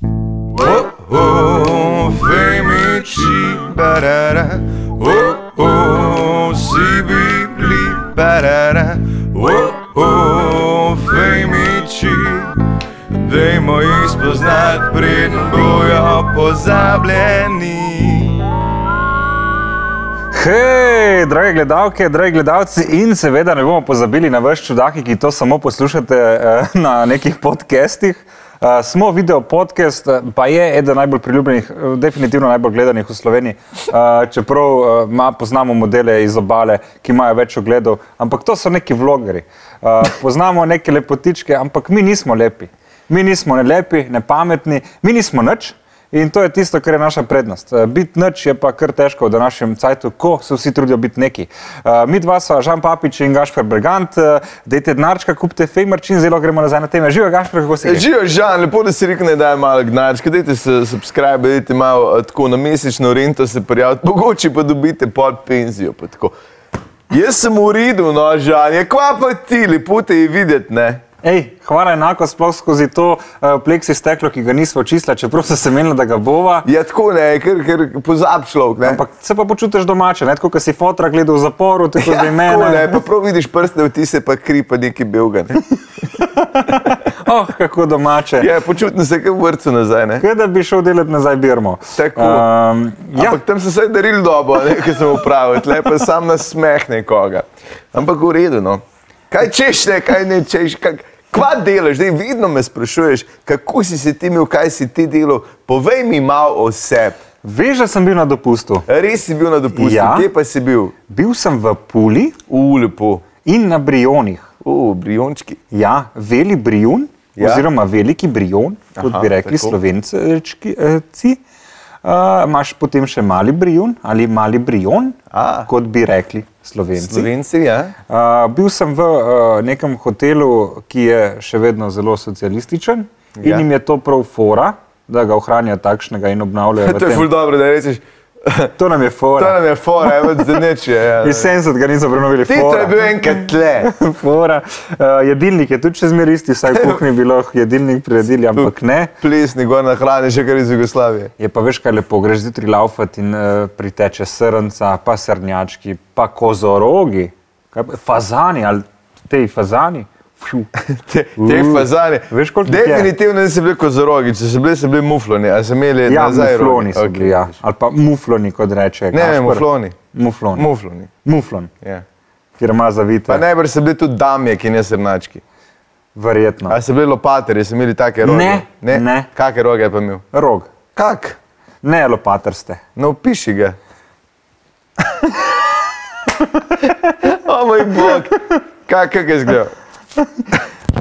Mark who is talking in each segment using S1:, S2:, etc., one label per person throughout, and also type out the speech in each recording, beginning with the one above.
S1: Oh, parara, e oh oh, si bibli parara, oh oh, fejmiči, dajmo jih spoznat, preden bojo pozabljeni.
S2: Hej, drage gledalke, dragi gledalci, in seveda ne bomo pozabili na vaš čudaki, ki to samo poslušate eh, na nekih podcestih. Uh, smo video podcast, eh, pa je eden najbolj priljubljenih, eh, definitivno najbolj gledanih v Sloveniji. Uh, čeprav eh, ma, poznamo modele iz obale, ki imajo več ogledov, ampak to so neki vlogeri. Uh, poznamo neke lepotičke, ampak mi nismo lepi. Mi nismo ne lepi, ne pametni, mi nismo nič. In to je tisto, kar je naša prednost. Eh, Biti nič je pa kar težko v današnjem cajtu, ko se vsi trudijo biti neki. Eh, Mi dva sva Žan Papič in Gašper Brigant, eh, dajte denarčka, kupite fejmrčin, zelo gremo nazaj na teme. Živijo, Gašper, kako si?
S3: Živijo, Žan, lepo da si rekel, da je malo gnarčka, dajte se subscribe, dajte malo eh, tako na mesečno rento se prijaviti, mogoče pa dobite pol penzijo. pa tako. Jaz sem v redu, no, Žan, je kva pa ti, lepo te je videti, ne?
S2: Ej, hvala enako sploh skozi to eh, pleksi steklo, ki ga nismo čisla, čeprav sem se menila, da ga bova.
S3: Ja, tako ne, ker, ker pozab človek, ne?
S2: Ampak se pa počutiš domače, ne? tako kot si fotra gledal v zaporu, tako
S3: ja,
S2: da
S3: tako ne,
S2: imena.
S3: pa prav vidiš prste, vtise pa kri, pa neki belga. Ne?
S2: Oh, kako domače.
S3: Ja, počutim se kot v vrtu nazaj, ne?
S2: Kaj da bi šel delati nazaj Birmo.
S3: Tako.
S2: Um,
S3: Ja.
S2: ja,
S3: Ampak tam so se darili dobo, ne, ki sem upravil, tle pa sam nasmeh nekoga. Ampak v redu, no. Kaj češ, ne, kaj ne češ, kak, kva delaš, zdaj vedno me sprašuješ, kako si se ti imel, kaj si ti delal, povej mi malo o sebi.
S2: veš, da sem bil na dopustu.
S3: Res si bil na dopustu,
S2: Ja.
S3: ja. kje pa si bil?
S2: Bil sem v Puli
S3: U, lepo,
S2: in na Brionih.
S3: u, briončki.
S2: Ja, veli Brion, ja.
S3: Ja.
S2: oziroma veliki Brion, kot
S3: Aha,
S2: bi rekli
S3: tako.
S2: slovenci. Uh, imaš potem še mali Brion ali mali Brion,
S3: A.
S2: kot bi rekli slovenci.
S3: Slovenci, ja.
S2: Uh, bil sem v uh, nekem hotelu, ki je še vedno zelo socialističen ja.
S3: Ja.
S2: in jim je to prav fora, da ga ohranijo takšnega in obnavljajo. v
S3: To je
S2: tem.
S3: ful dobro, da rečeš,
S2: to nam je
S3: to
S2: fora.
S3: nam je fora, evo, za nič je. Ja.
S2: Iz 70-ga niso prenovili
S3: Ti to je
S2: fora.
S3: bil enkrat tle.
S2: Fora. Uh, jedilnik je tudi še zmeraj isti, vsaj v kuhinji bi lahko jedilnik priredili, ampak ne.
S3: Plesni gor na hrani, še kar iz Jugoslavije.
S2: Je pa veš, kaj lepo, greš zjutraj laufat in uh, priteče srnca, pa srnjački, pa kozorogi, kaj, pa- fazani ali te fazani. Fju.
S3: Te, te
S2: Uh,
S3: fazane.
S2: veš, koliko jih je?
S3: Definitivno niso bili kozorogi, če so bili, so bili mufloni, ali so imeli
S2: Ja,
S3: nazaj roge?
S2: mufloni so bili,
S3: Okej.
S2: ja. ali pa mufloni, kot reče.
S3: Ne, ne,
S2: Gašper.
S3: mufloni.
S2: Muflon, Muf.
S3: Mufloni.
S2: Muflon
S3: Ja.
S2: kjer ima
S3: Pa
S2: zavite.
S3: najbrž so bili tudi damje, ki ne srnački.
S2: Verjetno.
S3: Ali so bili lopaterji, so imeli take roge?
S2: Ne,
S3: ne.
S2: ne.
S3: Kakšne roge je pa imel?
S2: Rog.
S3: Kak?
S2: Ne, lopatrste.
S3: No, piši ga. o moj bog, Kak- kak je zgledal?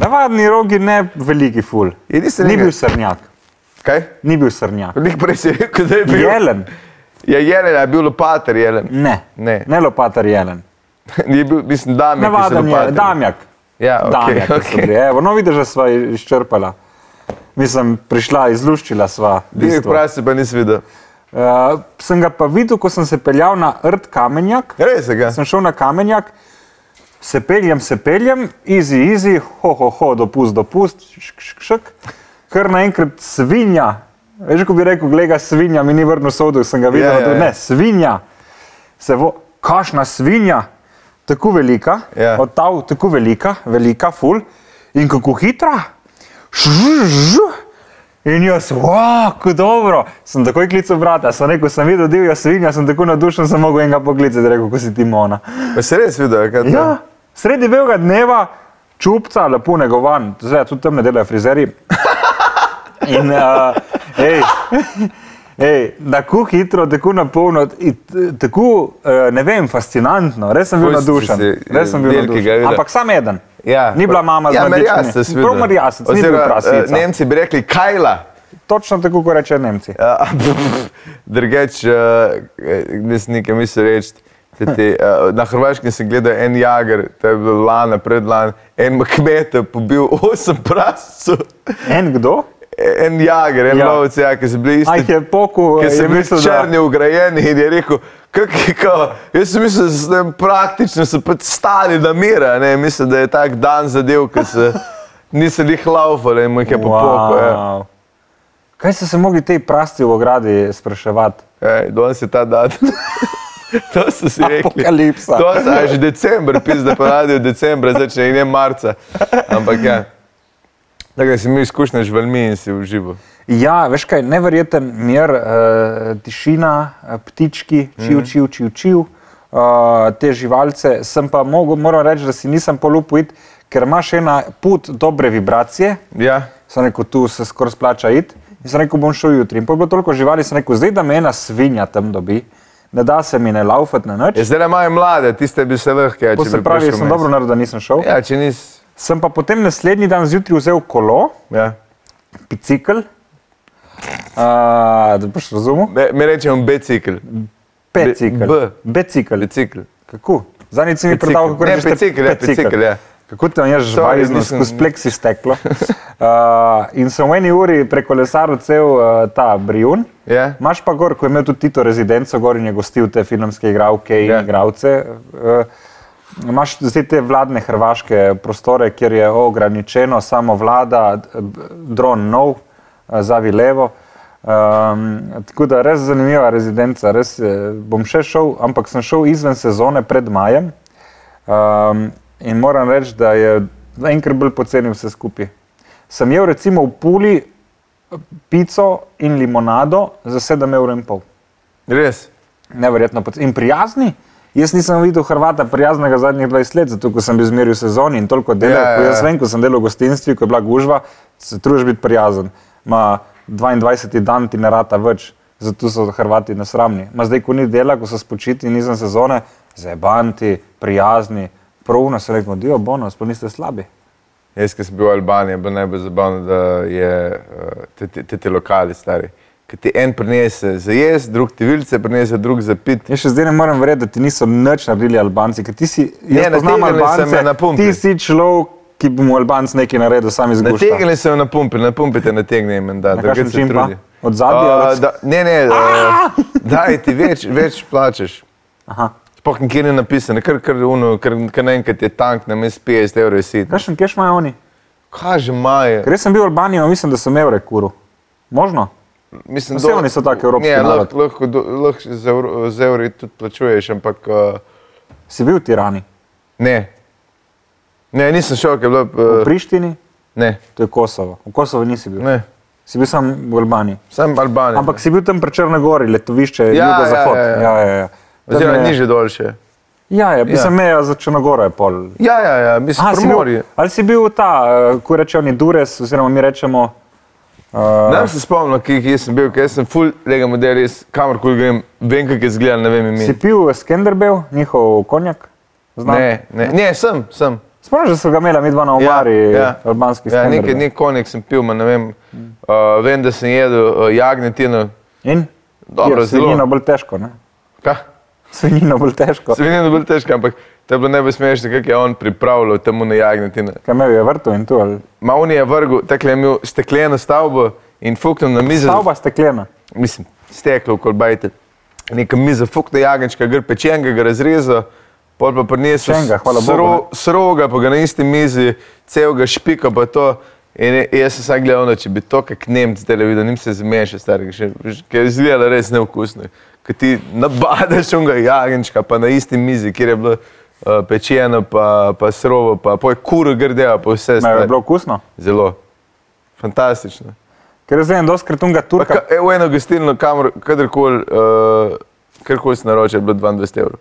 S2: Navadni rogi, ne veliki ful.
S3: Je, nisi
S2: Ni
S3: rekel-
S2: bil srnjak.
S3: Kaj?
S2: Ni bil srnjak.
S3: Nik prej si rekel, da je bil.
S2: Jelen.
S3: Ja, jelen, a je bil lopater, jelen.
S2: Ne,
S3: Ne.
S2: ne lopatar jelen.
S3: Je bil, mislim, damje, ki so
S2: Navaden je,
S3: lopaterji.
S2: Damjak.
S3: Ja, ok,
S2: Damjak so
S3: ok.
S2: bili. Evo, no vidiš, da sva izčrpala. Mislim, prišla, izluščila sva.
S3: Dih
S2: bistvo.
S3: prav se pa nisi videl.
S2: Uh, sem ga pa videl, ko sem se peljal na Rt Kamenjak.
S3: Res je, ga.
S2: Sem šel na Kamenjak, se peljem, se peljem, izi, izi, ho, ho, ho, dopust, dopust, šk, šk, šk. Kar naenkrat svinja. Veš, ko bi rekel, gleda svinja, mi ni vrnil sodu, sem ga videl,
S3: Ja,
S2: yeah,
S3: ja,
S2: yeah,
S3: ja.
S2: ne, svinja. Se vo, kašna svinja, tako velika,
S3: Ja.
S2: od tav tako velika, velika, ful. In kako hitra, žužužu. In jaz, wow, kako dobro. Sem takoj klical brata, sem rekel, sem videl divja svinja, sem tako nadušen, sem mogel enega poklicati, rekel, ko si ti mona.
S3: Pa si res videl, kaj to?
S2: Ja, sredi belega dneva, čupca, lepo negovan, zdaj tudi tam ne delajo frizeri. In, uh, ej, ej, tako hitro, tako napolno, i- t- tako, eh, ne vem, fascinantno, res sem bil
S3: Ful si
S2: nadušen.
S3: si,
S2: Res sem bil
S3: velikega
S2: nadušen.
S3: videl.
S2: Ampak sam eden.
S3: Ja,
S2: Ni bila mama z
S3: ja,
S2: mladičkami.
S3: Marjasec si videl.
S2: Prav Marjasec, ni bil
S3: Oziroma, eh,
S2: prasica.
S3: Nemci bi rekli Kajla.
S2: Točno tako, kot rečejo Nemci.
S3: Ja, Drugač, eh, nis nekaj misli reči. Te, te, eh, na Hrvaškem sem gledal en jager, to je bilo lana, predlan, en kmet je pobil osem prascev,
S2: En kdo?
S3: en jager, en
S2: Ja.
S3: ja. lovec, ja, ki so bili
S2: Aj
S3: isti.
S2: je poku,
S3: Ker
S2: je
S3: sem bil
S2: mislil, da...
S3: črni ugrajeni in je rekel, kako je kao, jaz sem mislil, da se tam praktično so pač stali na mira, ne, mislim, da je tak dan zadev, ker se niso jih laufali in mu jih je popokal. Ja.
S2: Wow. Kaj so se mogli te prasti v ogradi spraševati?
S3: Ej, danes je ta datum. To so si rekli.
S2: Apokalipsa.
S3: To so a že decembr, pizda pa radijo decembra, začne in ne marca. Ampak ja. Tako da si mi izkušnja žvalmi in si uživo.
S2: Ja, veš kaj, neverjeten mir, eh, tišina, eh, ptički, čil, čil, čil, čil, eh, te živalce. Sem pa mogel, moram reči, da si nisem polupil, iti, ker imaš ena put dobre vibracije.
S3: Ja.
S2: Sem rekel, tu se skoraj splača iti. In sem rekel, bom šel jutri. In pa je bilo toliko živali, sem rekel, zdaj da me ena svinja tam dobi, ne da se mi ne laufati na
S3: Ja,
S2: noč.
S3: zdaj imajo mlade, tiste bi se lahko. Ja,
S2: To
S3: če
S2: se
S3: bi
S2: pravi,
S3: prišel
S2: sem
S3: mes.
S2: dobro naredil, da nisem šel.
S3: Ja, če nisi.
S2: Sem pa potem naslednji dan zjutraj vzel kolo,
S3: Ja.
S2: bicikl, uh, da boš razumel.
S3: Me, me rečemo bicikl.
S2: Pecikl.
S3: B.
S2: Bicikl.
S3: Bicikl.
S2: Kako? Zadnjič si mi
S3: Bicikl.
S2: predal, kako
S3: Ne,
S2: rečeš.
S3: bicikl, ja, bicikl, ja.
S2: Kako tam je
S3: Sorry,
S2: žvalizno,
S3: nisem-
S2: skozi pleksi steklo. Uh, in sem v eni uri prekolesaril cel uh, ta Brijun.
S3: Ja.
S2: Maš pa gor, ko je imel tudi Tito rezidenco, gor in je gostil te filmske igravke in
S3: Ja.
S2: yeah. igravce. Uh, Imáš zdaj te vladne hrvaške prostore, kjer je ograničeno samo vlada, d- b- dron nov, eh, zavi levo. Um, tako da res zanimiva rezidenca, res eh, bom še šel, ampak sem šel izven sezone pred majem um, in moram reči, da je enkrat bolj poceni vse skupaj. Sem jel recimo v Puli eh, pico in limonado za 7,5 evra.
S3: Res.
S2: Neverjetno. poc- In prijazni. Jaz nisem videl Hrvata prijaznega zadnjih 20 let, zato ker sem bil zmeraj v sezoni in toliko delal.
S3: Ja, ja,
S2: Yeah, yeah. Jaz
S3: ja.
S2: vem, ko sem delal v gostinstvu, ko je bila gužva, se trudiš biti prijazen. Ma 22 dan ti ne rata več, zato so Hrvati nesramni. Ma zdaj, ko ni dela, ko so spočiti in izven sezone, zebanti, prijazni, pravno se reko, dio bonus, pa niste slabi.
S3: Jaz, ki sem bil v Albaniji, je bilo najbolj zabavno, da je eh, te, te, te, te lokali stari. Ker ti en prinese za jesti, drug ti vilce prinese, drug za piti.
S2: Jaz še zdaj ne morem verjeti, da ti niso nič naredili Albanci. ker Ti si, jaz
S3: Ne,
S2: poznam
S3: nategnili so
S2: Albance,
S3: me na pumpi.
S2: ti si človek, ki bi mu Albanc nekaj naredil, sam izgubil.
S3: Nategnili so jo na pumpi, na pumpi te nategnejo. Na
S2: kakšen čin pa? Od zadaj ali od-
S3: Eh,
S2: Ah!
S3: Ne, ne, uh, daj ti več, več plačeš. Sploh nikjer ni napisano, kar, kar, uno, kar, kar naenkrat je tank na mestu 50 evrov jesi.
S2: Kakšen keš imajo oni?
S3: Kaj že maje?
S2: Ker jaz sem bil v Albaniji, mislim, da sem evre kuru. Možno?
S3: Mislim,
S2: Vse oni so taki evropski
S3: Ne,
S2: narod.
S3: lahko lahko do- lahko z evro- z evri tudi plačuješ, ampak uh,
S2: Si bil v Tirani,
S3: ne. Ne, nisem šel, ker je bilo...
S2: v
S3: Uh,
S2: Prištini,
S3: ne,
S2: to je Kosovo. V Kosovo nisi bil.
S3: ne,
S2: Si bil sam v Albaniji.
S3: sem Albanija.
S2: Ampak si bil tam pri Črnagori, letovišče,
S3: Ja,
S2: jugozahod.
S3: ja, ja, ja.
S2: ja, ja. Tam
S3: Oziroma,
S2: je-
S3: niže dol še.
S2: Ja, ja, mislim,
S3: Ja.
S2: meja za Črnagoro je pol.
S3: Ja, ja, ja, mislim,
S2: Aha, si bil,
S3: primorje.
S2: ali si bil ta, eh, ko rečejo oni Dures, oziroma mi rečemo,
S3: Nam se spomnim, ki ki sem bil, ker jaz sem full lega model, jaz kamorkoli grem, vem, kako izgleda, ne vem
S2: si
S3: ime.
S2: pil Skenderbel, njihov konjak? Znam.
S3: Ne, ne, ne, sem, sem.
S2: Spomniš, da so ga imeli mi dva na omari, albanski Mm.
S3: ja,
S2: Skenderbel.
S3: nekaj, nek konik sem pil, ma ne vem. Uh, vem, da sem jedel uh, jagnetino.
S2: In?
S3: Dobro,
S2: Ja,
S3: zelo.
S2: Svinjino bolj težko, ne?
S3: Kaj?
S2: Svinjino bolj težko.
S3: Se vidim, da je bilo težko, ampak to je bilo najbolj smešno, kako je on pripravljal temu na jagnetine.
S2: Kaj me je vrtel in tu, ali
S3: Mavni je vrgel, tako je imel stekleno stavbo in fuknil na mizo.
S2: stavba steklena.
S3: Mislim, steklo, kolbajte. Neka miza, fuknil jagenčka, gre pečenega, ga razrezal, pol pa prinesel
S2: Pečenega, hvala bogu, ne.
S3: sroga, pa ga na isti mizi, celega špika pa to. In jaz sem sam gledal, ono, če bi to kak Nemc zdaj videl, njim se zmeša, starega, ker je izgledalo res neukusno. Ker ti nabadaš unga jagenčka, pa na isti mizi, kjer je bilo uh, pečeno, pa, pa srovo, pa poj kuro grdeva, pa vse
S2: Me je
S3: stvari.
S2: bilo okusno.
S3: Zelo. Fantastično.
S2: Ker jaz vem, doskrat tunga
S3: Pa
S2: turka.
S3: ka- e, V eno gostilno, kamor- kadarkoli, uh, karkoli si naročil, je bilo 22 evrov.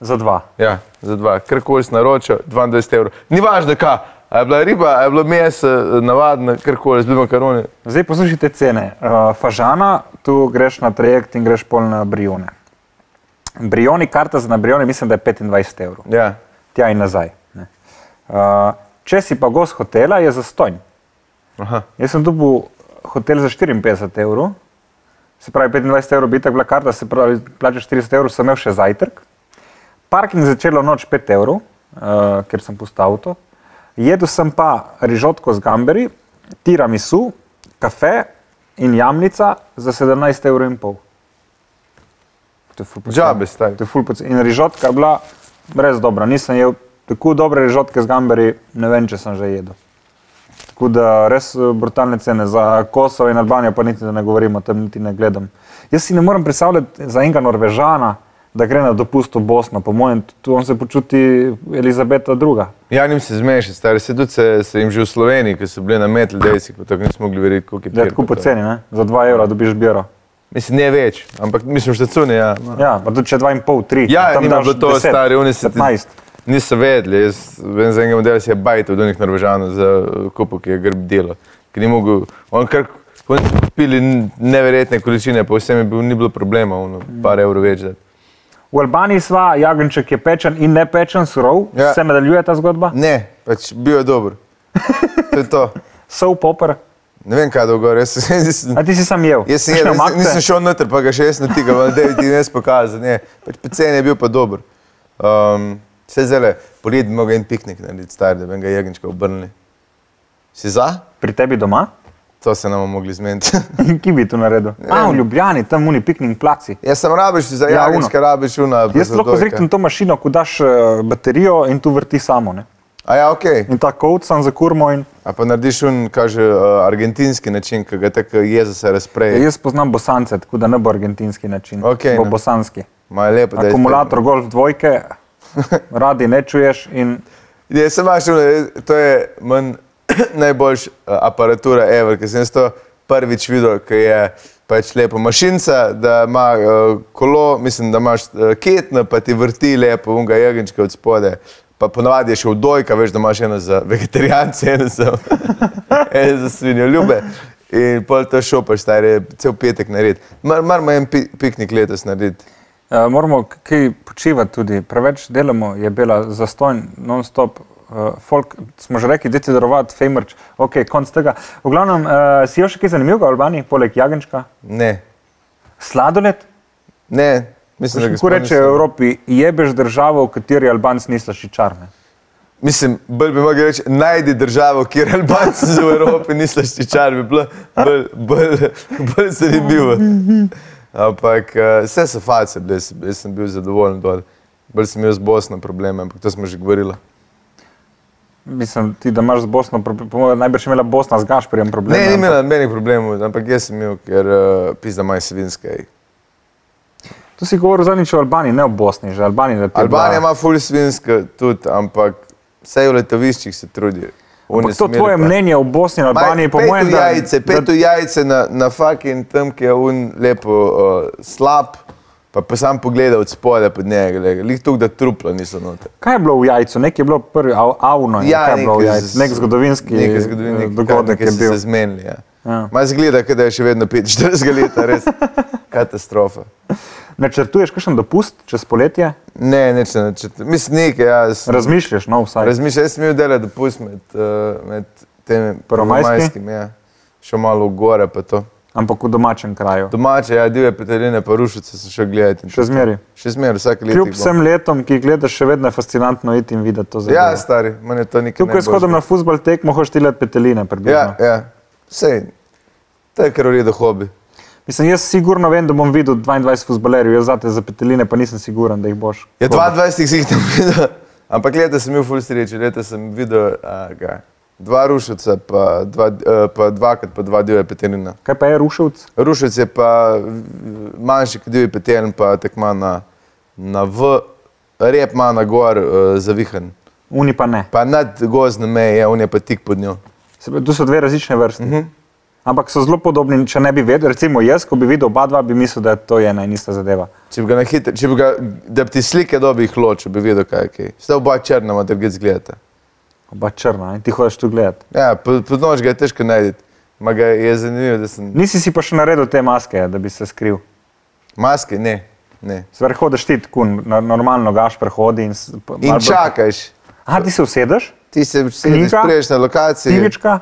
S2: Za dva.
S3: Ja, za dva, karkoli si naročil, 22 evrov. Ni važno, kaj. A je bila riba, a je bilo meso, eh, navadno, karkoli, z makaroni.
S2: Zdaj poslušajte cene. Uh, Fažana, tu greš na trajekt in greš pol na Brione. Brioni, karta za na Brione, mislim, da je 25 evrov.
S3: Ja.
S2: Tja in nazaj. ne. Uh, če si pa gost hotela, je zastojn.
S3: Aha.
S2: Jaz sem dobil hotel za 54 evrov, se pravi 25 evrov bi tako bila karta, se pravi plačaš 40 evrov, sem imel še zajtrk. Parking začelo noč 5 evrov, uh, ker sem pustil avto. Jedel sem pa rižotko z gamberi, tiramisu, kafe in jamnica za 17 evrov in pol. To je ful poceni.
S3: Džabe, stari.
S2: To je ful poceni. In rižotka je bila brez dobra, nisem jedel tako dobre rižotke z gamberi, ne vem, če sem že jedel. Tako da res eh, brutalne cene za Kosovo in Albanijo, pa niti da ne govorimo, tam niti ne gledam. Jaz si ne morem predstavljati za enega Norvežana, da gre na dopust v Bosno. Po mojem, tu on se počuti Elizabeta II.
S3: Ja, njim se zmeši, stari se tudi se, se jim že v Sloveniji, ki so bili na metli, da si kot tako nismo mogli verjeti, koliko je
S2: Da je Ja,
S3: pir
S2: tako
S3: pa to.
S2: poceni, ne? za 2 evra dobiš biro.
S3: Mislim, ne več, ampak mislim, da cune, ja.
S2: Ja, pa tudi če 2,5, 3.
S3: Ja, njima je bilo to, stari, oni se ti-
S2: 15.
S3: Niso vedeli, jaz vem za enega modela si je bajt od onih norvežanov za eh, kupo, ki je grb delo. Ker ni mogel, on kar, oni so pili n- neverjetne količine, pa vsem je bil, ni bilo problema, ono, par evrov več. dati.
S2: V Albaniji sva, jagenček je pečen in ne pečen, surov.
S3: Ja.
S2: Ja. Se nadaljuje ta zgodba?
S3: Ne, pač bil je dober. To je to.
S2: Sov popr.
S3: Ne vem, kaj dolgo, jaz sem.
S2: A ti si sam jel?
S3: Jaz sem
S2: Kakšne
S3: jedel,
S2: omakce?
S3: nisem, nisem šel noter, pa ga še jaz natikam, da je ti jaz pokazal. Ne, pač pecen je bil pa dober. Um, se zdaj, poleti bi mogel en piknik narediti, star, da bi ga jagenčka obrnili. Si za?
S2: Pri tebi doma?
S3: To se nam bomo mogli zmeniti.
S2: Ki bi to naredil?
S3: Ja.
S2: A, v Ljubljani, tam muni piknik placi.
S3: jaz sem rabiš, za
S2: Ja,
S3: jagenčka rabiš una.
S2: Jaz lahko zreknem to mašino, ko daš eh, baterijo in tu vrti samo. Ne?
S3: A ja, ok.
S2: In ta kovc sam zakurmo in
S3: A pa narediš un, kaže, uh, argentinski način, ki ga tako jeza se razpreje.
S2: jaz poznam bosance, tako da ne bo argentinski način,
S3: Okej,
S2: bo
S3: ne.
S2: bosanski.
S3: Ma je lepo, da je-
S2: Akumulator golf dvojke, radi ne čuješ in
S3: Ja, sem vaš, to je manj najboljša aparatura ever, ker sem jaz to prvič videl, ker je pač lepo mašinca, da ima uh, kolo, mislim, da imaš uh, ketno, pa ti vrti lepo unga jagenčka od spode. Pa ponovadi je še v dojka, veš, da imaš eno za vegetarijance, eno za, eno za svinjoljube. In pol to šopaš, stari, cel petek narediti. Mar, mar ima en pi, piknik letos narediti.
S2: Uh, moramo k- kaj počivati tudi, preveč delamo, je bila zastojn, non-stop. Uh, folk, smo že rekli, deti darovati, fejmrč, ok, konc tega. V glavnem, uh, si jo še kaj zanimivega v Albaniji, poleg jagenčka?
S3: Ne,
S2: Sladoled?
S3: ne, mislim, da ga
S2: Kako
S3: sploh ne
S2: reče
S3: slišim.
S2: Evropi, jebeš državo, v kateri Albanci niso šičarne.
S3: Mislim, bolj bi mogel reči, najdi državo, kjer Albanci v Evropi niso ščičar, bi bilo bolj, bolj, bolj zanimivo. Ampak eh, vse so face, bile, jaz, jaz sem bil zadovoljen dol. Bolj sem imel z Bosno probleme, ampak to smo že govorili.
S2: Mislim, ti, da imaš z Bosno, pro- po mojem, najbrž je imela Bosna z Gašperjem problem.
S3: Ne, ni imel nobenih problemov, ampak jaz sem imel, ker uh, pizda maj svinska. ej.
S2: Tu si govoril zadnjič o Albaniji, ne o Bosni, že Albaniji. da ti je
S3: Albanija
S2: bila-
S3: ima ful svinska tudi, ampak vse v letoviščih se trudijo. Oni
S2: Ampak
S3: so
S2: to
S3: imeli
S2: tvoje
S3: pa-
S2: mnenje o Bosni in Albaniji, po mojem, da...
S3: jajce,
S2: da-
S3: peto jajce na, na fucking tem, ki je un lepo uh, slab, pa pa sam pogleda od spode pod njega, glej, lih tu, da truplo niso noter.
S2: Kaj je bilo v jajcu? Nekaj je bilo prvi, av, avno, je, Ja, kaj je bilo v
S3: Ja, nekaj
S2: jajcu.
S3: z-
S2: Nek zgodovinski,
S3: nekaj zgodovinski
S2: eh, dogodek
S3: kar
S2: je
S3: nekaj so
S2: bil.
S3: Se zmenili, ja.
S2: Ja.
S3: ja. Ma zgleda, kot da je še vedno 45 let, res katastrofa.
S2: Načrtuješ kakšen dopust čez poletje?
S3: Ne, nič ne, če, mislim, nekaj, ja, jaz,
S2: Razmišljaš, no vsaj.
S3: razmišljam, jaz sem imel delo, da pust med, uh, med temi
S2: Prvomajski?
S3: prvomajskimi, ja. še malo v gore pa to.
S2: Ampak v domačem kraju.
S3: Domače, ja, divje peteline, pa rušice so še gledati. in
S2: Še
S3: to.
S2: zmeri.
S3: Še zmeraj, vsak leto.
S2: Kljub vsem letom, ki jih gledaš, še vedno je fascinantno iti in videti to zadevo.
S3: Ja, stari, meni je to nekaj.
S2: Tukaj
S3: najboljšega.
S2: shodom na futbol tekmo, hoš ti let peteline
S3: Ja,
S2: približno.
S3: ja. Sej, to je kar uredo hobi.
S2: Mislim, jaz sigurno vem, da bom videl 22 futbolerjev, jaz zate za peteline pa nisem siguren, da jih boš.
S3: Je 22 si jih tam videl, ampak leta sem imel full sreče, leta sem videl a, ga, dva rušica, pa, dva, eh, pa dvakrat pa dva divja petelina.
S2: Kaj pa je ruševc?
S3: Rušic je pa v- manjši kot divji petelin, pa tekma na, na V, rep ima na gor uh, zavihan.
S2: Uni pa ne.
S3: Pa nad gozdno meje, ja, on je pa tik pod njo.
S2: Se pravi, Tu so dve različne vrste. Uh -huh. Ampak so zelo podobni, če ne bi vedel. Recimo jaz, ko bi videl oba dva, bi mislil, da je to ena in ista zadeva.
S3: Če bi ga na hitro, če bi ga, da bi ti slike dobil, jih ločil, bi vedel, kaj je kaj. Ste oba črna, ma drgec gledate.
S2: Oba črna in ti hočeš tu gledati.
S3: Ja, pod, pod nož ga je težko najti. Ma ga je zanimivo, da sem...
S2: Nisi si pa še naredil te maske, da bi se skril.
S3: Maske, ne, ne.
S2: Sver hodiš ti tako, na- normalno gaš prehodi in... s- pa-
S3: In
S2: malo bolj-
S3: čakaš.
S2: A ti se usedeš?
S3: Ti se sedeš,
S2: Knjiga?
S3: priješ na lokaciji.
S2: Pivička?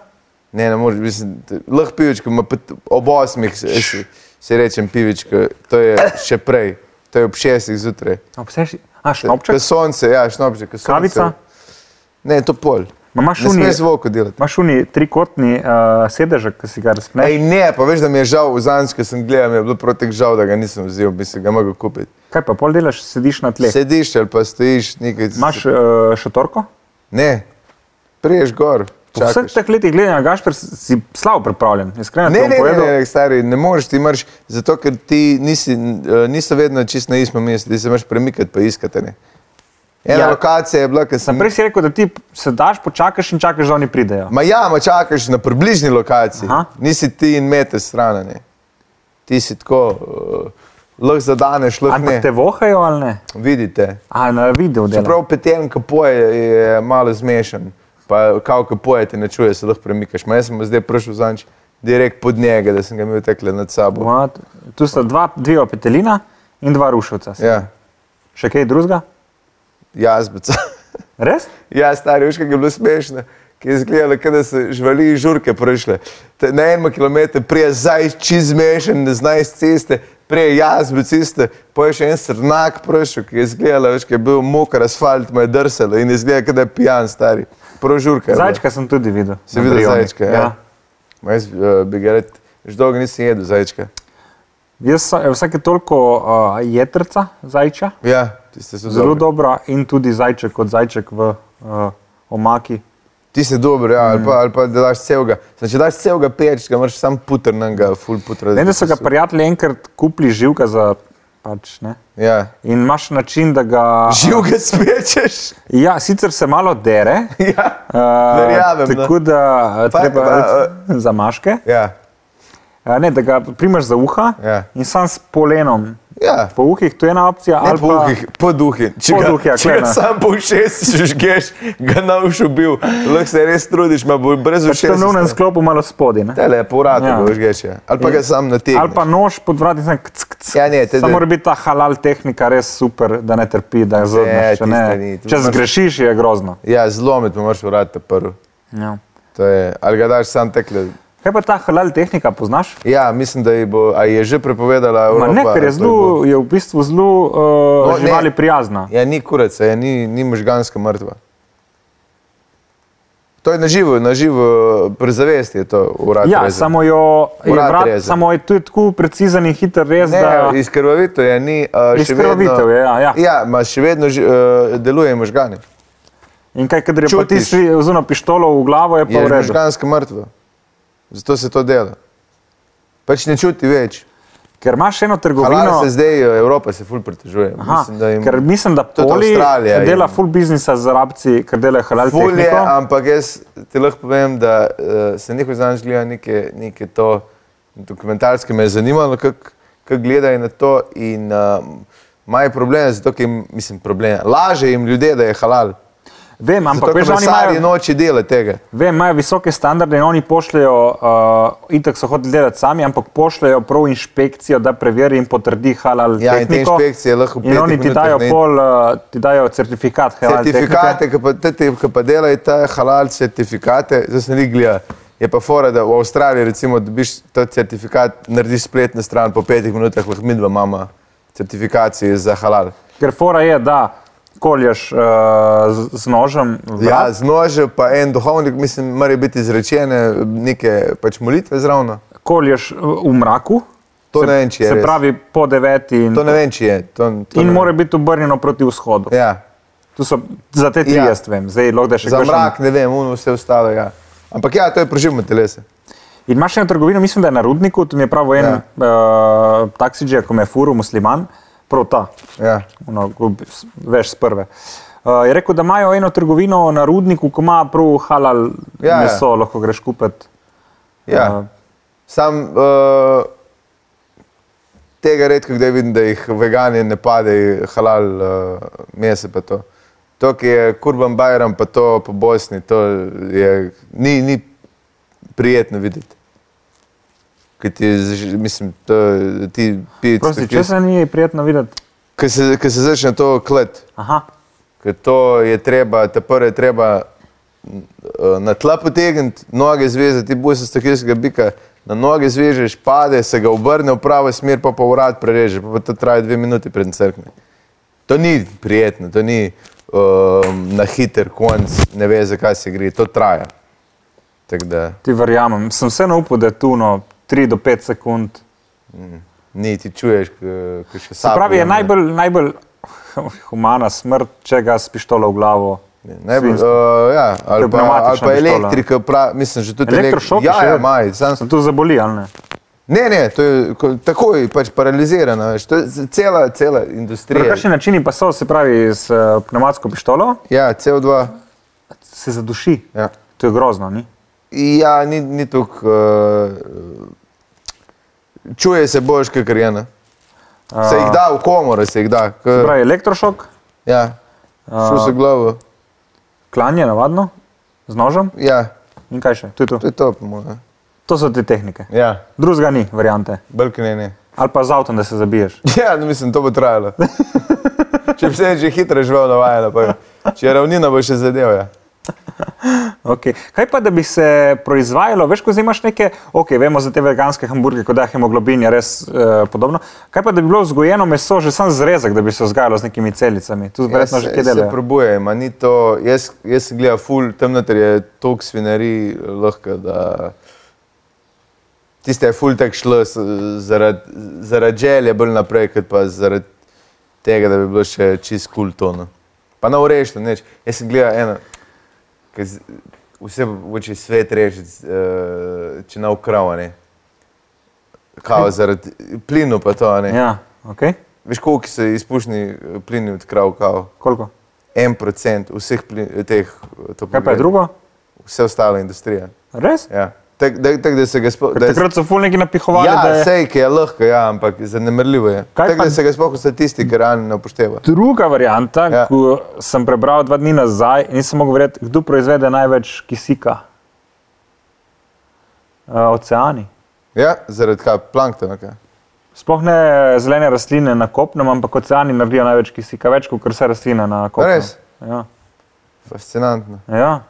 S3: Ne, ne moreš, mislim, t- lahko pivičko, ma pa t- ob osmih se, se, se rečem pivičko, to je še prej, to je ob šestih zjutraj.
S2: Obseš? A,
S3: Ko
S2: šnopček?
S3: sonce, ja, šnopček, ko sonce.
S2: Kavica?
S3: Ne, to pol.
S2: Ma imaš
S3: ne
S2: unije-
S3: smeš zvoko delati.
S2: Imaš uni trikotni uh, sedežek, ki si ga razpneš.
S3: Ej, ne, pa veš, da mi je žal, zadnjič, ko sem gledal, mi je bilo protek žal, da ga nisem vzel, bi se ga mogel kupiti.
S2: Kaj pa pol delaš, sediš na tleh? eh,
S3: Sediš ali pa stojiš nekaj.
S2: Imaš uh, šatorko?
S3: Ne, priješ gor,
S2: Po vseh
S3: čakaš.
S2: teh letih gledanja, Gašper, si slabo pripravljen. Iskreno, ti
S3: Ne,
S2: bom
S3: ne, ne,
S2: povedal.
S3: ne, ne, stari, ne moreš, ti imaš, zato ker ti nisi, eh, niso vedno čisto na istem mestu, ti se moraš premikati, pa iskati. Ne. Ena ja.
S2: Ja.
S3: lokacija je bila, ker sem.
S2: Prej si rekel, da ti se daš, počakaš in čakaš, da oni pridejo.
S3: Ma ja, ma čakaš na približni lokaciji, Aha.
S2: Aha.
S3: nisi ti in meter stran, ne. ti si tako, uh, lahko zadaneš, lahko
S2: Ampak
S3: ne.
S2: te vohajo ali ne?
S3: Vidite.
S2: A na video delo.
S3: Čeprav peten kapoje je malo zmešan, pa kao kapoje te ne čuje, se lahko premikaš. Ma jaz sem zdaj prišel zanč direkt pod njega, da sem ga imel tekle nad sabo.
S2: Ma, Tu sta dva, dve opetelina in dva rušilca.
S3: Ja,
S2: Še kaj drugega?
S3: jazbica.
S2: Res?
S3: Ja, stari, veš, kaj je bilo smešno, ki je izgledalo, kot da so živali iz žurke prišle. Te- Na enem kilometru prije zdaj čez zmešan, ne znaš iz ceste, prije jaz bil ceste, poješ en srnak prišel, ki je izgledalo, veš, kaj je bil mokar asfalt, me je drsalo in izgleda, kot da je pijan, stari. Prav žurka. je bila.
S2: Zajčka sem tudi videl.
S3: Ja, Si
S2: na
S3: videl
S2: Brioni.
S3: zajčka, ja. Ma Jaz eh, bi ga rekel, že dolgo nisem jedel zajčka.
S2: Jaz sa- vsake toliko uh, jedrca zajča,
S3: Ja, tiste so
S2: zelo
S3: zelo dobro.
S2: dobra in tudi zajček kot zajček v uh, omaki.
S3: Ti si dober, ja,
S2: Mm.
S3: ali, pa, ali pa da daš celega. Znači, če daš celega peč, ga moraš sam putr, ga full putr.
S2: Vem, da so ga prijatelji enkrat kupili živka za pač ne.
S3: Ja.
S2: In imaš način, da ga.
S3: Živega spečeš.
S2: Ja, sicer se malo dere,
S3: Ja.
S2: Uh,
S3: Verjamem, ne.
S2: tako da eh,
S3: Pa-
S2: treba
S3: pa, eh,
S2: uh, za maške,
S3: Ja.
S2: uh, ne, da ga primaš za uha
S3: Ja.
S2: in sam s polenom.
S3: ja.
S2: Po uhih, to je ena opcija.
S3: Ne
S2: ali
S3: po
S2: pa-
S3: duhih, po duhih. Če
S2: Po
S3: ga,
S2: duhih, ja,
S3: če ga
S2: klena.
S3: sam po šesti žgeš, ga na ušu bil. Lahko se res trudiš, ma bo brez
S2: Pač
S3: ušes.
S2: to je v enem sklopu malo spodaj. ne.
S3: Tele, po vratu
S2: Ja.
S3: ga žgeš. Ja. Ali pa ga sam
S2: Ali
S3: nategneš.
S2: pa nož pod vratom, sem kc, kc.
S3: Ja, ne, te-
S2: Samo mora biti ta halal tehnika res super, da ne trpi, da je zelo
S3: tiste ni, tu
S2: Če
S3: imaš-
S2: zgrešiš, je grozno.
S3: Ja, zlomiti mu moraš vrat ta prvi.
S2: Ja.
S3: To je, ali ga daš sam tekle.
S2: Kaj pa ta halal tehnika poznaš?
S3: Ja, mislim, da ji bo, a ji je že prepovedala
S2: Ma
S3: Evropa.
S2: ne, ker je,
S3: ali pa ji bo-
S2: zlu, je v bistvu zelo uh,
S3: No, ne.
S2: živali prijazna.
S3: Ja, ni kurica, ja, ni, ni možganska mrtva. To je na živo, na živo, pri zavesti je to urad.
S2: Ja,
S3: rezan.
S2: samo jo je
S3: Vrat
S2: vrat,
S3: reže.
S2: samo je tu tako precizen in hiter rez,
S3: Ne,
S2: da
S3: izkrvavitev je, ni, uh, še
S2: Izkrvavitev
S3: vedno,
S2: je, ja, ja.
S3: Ja, ma še vedno ži, uh, deluje možgani.
S2: in kaj, kadar je pa ti
S3: čutiš.
S2: svi vzuno pištolo v glavo, je pa
S3: Je
S2: v redu.
S3: možganska mrtva. Zato se to dela. Pač ne čuti več.
S2: Ker imaš eno trgovino,
S3: Halal se zdaj, eh, Evropa se ful pritožuje.
S2: aha,
S3: Mislim, da jim
S2: ker mislim, da
S3: Tudi
S2: poli
S3: Avstralija je- ja.
S2: dela full biznisa z rabci, ker delajo halal
S3: ful je,
S2: tehniko.
S3: ampak jaz ti lahko povem, da uh, sem nekaj znaš gledal, neke, neke to dokumentarske me je zanimalo, kako gledajo na to in uh, imajo probleme, zato ker jim, mislim, probleme. Laže jim ljudje, da je halal.
S2: Vem, ampak
S3: Ampak
S2: veš, da oni
S3: komisarji
S2: imajo,
S3: noči dela tega.
S2: vem, imajo visoke standarde in oni pošljajo, uh, itak so hodili delati sami, ampak pošljajo prav inšpekcijo, da preveri in potrdi halal
S3: Ja, in te
S2: tehniko.
S3: inšpekcije lahko v
S2: in
S3: petih
S2: oni ti
S3: minutah
S2: dajo
S3: na in-
S2: pol, uh, ti dajo certifikat halal Ja, tehnike.
S3: Certifikate, ki pa, te, te, ki pa delajo ta halal certifikate, zdaj sem Liglija. Je pa fora, da v Avstraliji recimo, dobiš ta certifikat, narediš spletno stran, po petih minutah lahko mi dva imamo certifikacije za halal.
S2: Ker fora je, da kolješ uh, z, z nožem,
S3: Ja,
S2: vrat,
S3: z nožem pa en duhovnik, mislim, mora biti izrečene neke pač molitve zraven.
S2: ja. kolješ uh, v mraku.
S3: To
S2: se,
S3: ne vem, če je
S2: Se
S3: res.
S2: pravi, po deveti in,
S3: To ne vem, če je. To, to ne
S2: in
S3: vem.
S2: mora biti obrnjeno proti vzhodu. Ja.
S3: Ja.
S2: Tu so za te tri,
S3: Ja.
S2: ja. jaz vem, zdaj lahko da še
S3: Za
S2: kakšen-
S3: mrak, ne vem, uno vse ostalo. Ja. Ampak ja, to je preživljanje telesa.
S2: In imaš eno trgovino, mislim, da je na Rudniku, tu mi je prav en
S3: Ja.
S2: ja. uh, taksiđija, ko me je furu, musliman, prav ta,
S3: Ja.
S2: ono, ko bi- s- veš z prve. Uh, je rekel, da imajo eno trgovino na Rudniku, ko ima prav halal
S3: Ja, ja.
S2: ja, meso, ja. lahko greš kupiti.
S3: Ja.
S2: Uh,
S3: Sam uh, tega redko kdaj vidim, da jih vegani ne padejo, halal uh, mese pa to. To, ki je kurban Bajram, pa to po Bosni, to je, ni, ni prijetno videti. Kaj ti, zaž- mislim, to, je- ti piješ,
S2: prosti, če se ni prijetno videti.
S3: ki se, ko se začne to klet.
S2: Aha,
S3: Ker to je treba, te prve je treba n- eh, na tla potegniti, noge zvezati, ti boš stokilskega bika, na noge zvežeš, pade, se ga obrne v pravo smer, pa pa urad prereže, pa, pa to traja dve minuti pred crkvi. To ni prijetno, to ni um, na hiter konc, ne ve, zakaj se gre, to traja. Tako da
S2: ti verjamem. Sem vseeno upal, da je tu no 3 do 5 sekund.
S3: ni ti čuješ, ko še
S2: Se
S3: sam. ja.
S2: pravi, je najbolj, najbolj humana smrt, če ga s pištolo v glavo
S3: Ne bi, uh, ja, ali, pa, ali
S2: Pnevmatična
S3: pa
S2: pištola.
S3: elektrika, pra, mislim, že tudi
S2: Elektrošok.
S3: Ja, ja, maj, sam,
S2: sem tu zaboli, ali ne?
S3: ne, ne, to je ko- takoj pač paralizirana, veš, to je z- cela, cela
S2: Na
S3: industrija.
S2: kakšen način pa so, se pravi, s eh, pnevmatsko pištolo
S3: Ja, CO2.
S2: se zaduši.
S3: Ja.
S2: To je grozno, ni?
S3: Ja, ni, ni tako. Uh, čuje se boš, kaj krjena. Se jih da v komore, se jih da. K,
S2: Se pravi, elektrošok,
S3: ja, šel se glavo.
S2: klanje, navadno, z nožem
S3: Ja,
S2: in kaj še. To, je to.
S3: to je to, po mojem.
S2: to so te tehnike.
S3: Ja,
S2: Drugega ni, variante.
S3: brkne ne.
S2: Ali pa z avtom, da se zabiješ.
S3: Ja, no, mislim, to bo trajalo. če bi se že hitro živel navajeno, pa če je ravnina bo še zadev. Ja.
S2: Okay. Kaj pa, da bi se proizvajalo, veš, ko zdaj imaš neke, ok, vemo za te veganske hamburgerje, kot da je hemoglobin, je res eh, podobno. Kaj pa, da bi bilo vzgojeno meso, že sam zrezek, da bi se vzgajalo z nekimi celicami? Tu verjetno že kje
S3: jaz se
S2: delajo.
S3: probujem, a ni to, jaz, jaz sem gledal ful, tam noter je toliko svinari lahko, da tiste je ful tak šlo s- zaradi zarad želje bolj naprej, kot pa zaradi tega, da bi bilo še čist kul cool tono. Pa na urešno, neč. Jaz sem gledal eno, ki z- vse hoče svet rešiti, z- eh, če na ukravane. Kao zaradi plinu pa to, a ne.
S2: Ja, ok.
S3: Veš, koliko so izpušni eh, plini od krav, kao?
S2: Koliko?
S3: en procent vseh plin, teh eh,
S2: Kaj pa je
S3: toplogrednih,
S2: drugo?
S3: vse ostalo je industrija.
S2: Res?
S3: Ja. Tako da, tak, da se ga sploh ne
S2: Takrat so fulniki napihovali. da
S3: Ja,
S2: je-
S3: sej, ki je lahko, ja, ampak zanemrljivo je.
S2: Kaj
S3: Tako
S2: pa-
S3: da se ga sploh v statistiki realno ne upošteva.
S2: Druga varianta, ja.
S3: Ja.
S2: ko sem prebral dva dni nazaj, nisem mogel verjeti, kdo proizvede največ kisika. Uh, oceani.
S3: Ja, zaradi kaj planktona. Kaj.
S2: Sploh ne zelene rastline na kopnem, ampak oceani naredijo največ kisika, več kot vse rastline na kopnem.
S3: Res?
S2: Ja.
S3: Fascinantno.
S2: ja,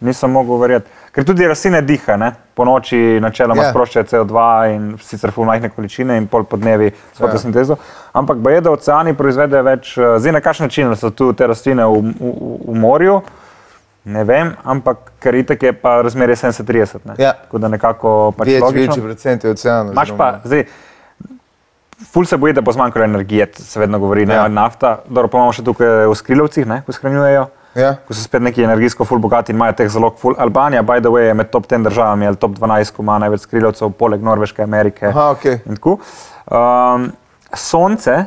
S2: nisem mogel verjeti. Ker tudi rastline diha, ne? po noči načeloma
S3: Ja.
S2: ja. sproščajo CO2 in sicer v majhne količine in pol po dnevi s
S3: Ja.
S2: fotosintezo. Ampak je, da oceani proizvedejo več, eh, zdaj na kakšen način so tu te rastline v, v, v- v morju. Ne vem, ampak ker itek je pa razmerje 70-30. ne.
S3: Ja.
S2: Tako da nekako pač
S3: Več,
S2: logično.
S3: večji procent je oceanov.
S2: Imaš pa, zdaj, ful se boji, da bo zmanjkalo energije, t- se vedno govori, ne,
S3: Ja.
S2: ja. nafta, dobro, pa imamo še tukaj eh, v skrilovcih, ne, ko shranjujejo.
S3: Ja.
S2: Ko so spet neki energijsko ful bogati in imajo teh zalog ful. Albanija, by the way, je med top 10 državami ali top 12, ko ima največ skrilovcev, poleg Norveške, Amerike.
S3: Aha, okej.
S2: In tako. Um, sonce,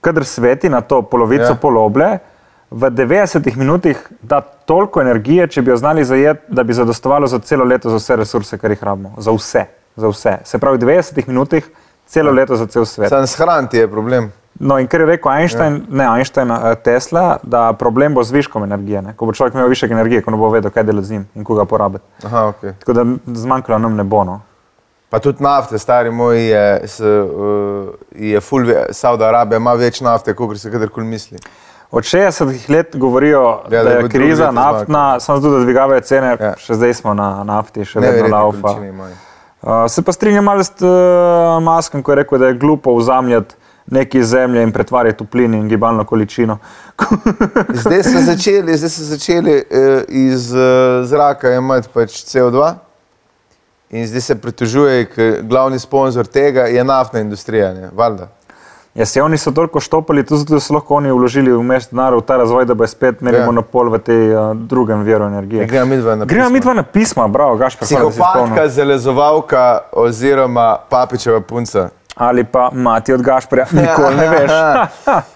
S2: kadar sveti na to polovico
S3: Ja.
S2: ja. poloble, v 90 minutah da toliko energije, če bi jo znali zajeti, da bi zadostovalo za celo leto, za vse resurse, kar jih rabimo. Za vse. Za vse. Se pravi, v 90 minutah celo leto za cel svet.
S3: Sam shraniti je problem.
S2: No, in kar je rekel Einstein, ja. ne Einstein, eh, Tesla, da problem bo z viškom energije. Ne? Ko bo človek imel višek energije, ko ne bo vedel, kaj delati z njim in koga porabiti.
S3: Aha, okay.
S2: Tako da zmanjkalo nam ne bo. No.
S3: Pa tudi nafte, stari moj, je, s, uh, je full, Saudi Arabija ima več nafte, kot se kadarkoli misli.
S2: Od 60-ih let govorijo, ja, da,
S3: da
S2: da
S3: je
S2: je
S3: bo
S2: kriza
S3: drugo leto
S2: naftna, samo zato, da dvigavajo cene,
S3: Ja.
S2: ja. še zdaj smo na nafti, še vedno
S3: Neverjetne
S2: laufa.
S3: količine imajo.
S2: Uh, se pa strinjam malo s uh, Maskom, ko je rekel, da je glupo vzamljati neki zemlje in pretvarjati v plin in gibalno količino.
S3: Zdaj so začeli, zdaj so začeli eh, iz eh, zraka imeti pač CO2 in zdaj se pritožuje, ker glavni sponzor tega je naftna industrija, ne, valjda.
S2: Ja, se oni so toliko štopali, tudi zato da so lahko oni vložili v mest denar v ta razvoj, da bo spet imeli
S3: Ja.
S2: ja. monopol v tej uh, drugem veru energije.
S3: Ja, greva midva na
S2: Gremo
S3: pisma.
S2: mi dva na pisma, bravo, gaš pa
S3: Psihopatka, zelezovalka oziroma papičeva punca.
S2: Ali pa mati od Gašporja, nikoli ne veš.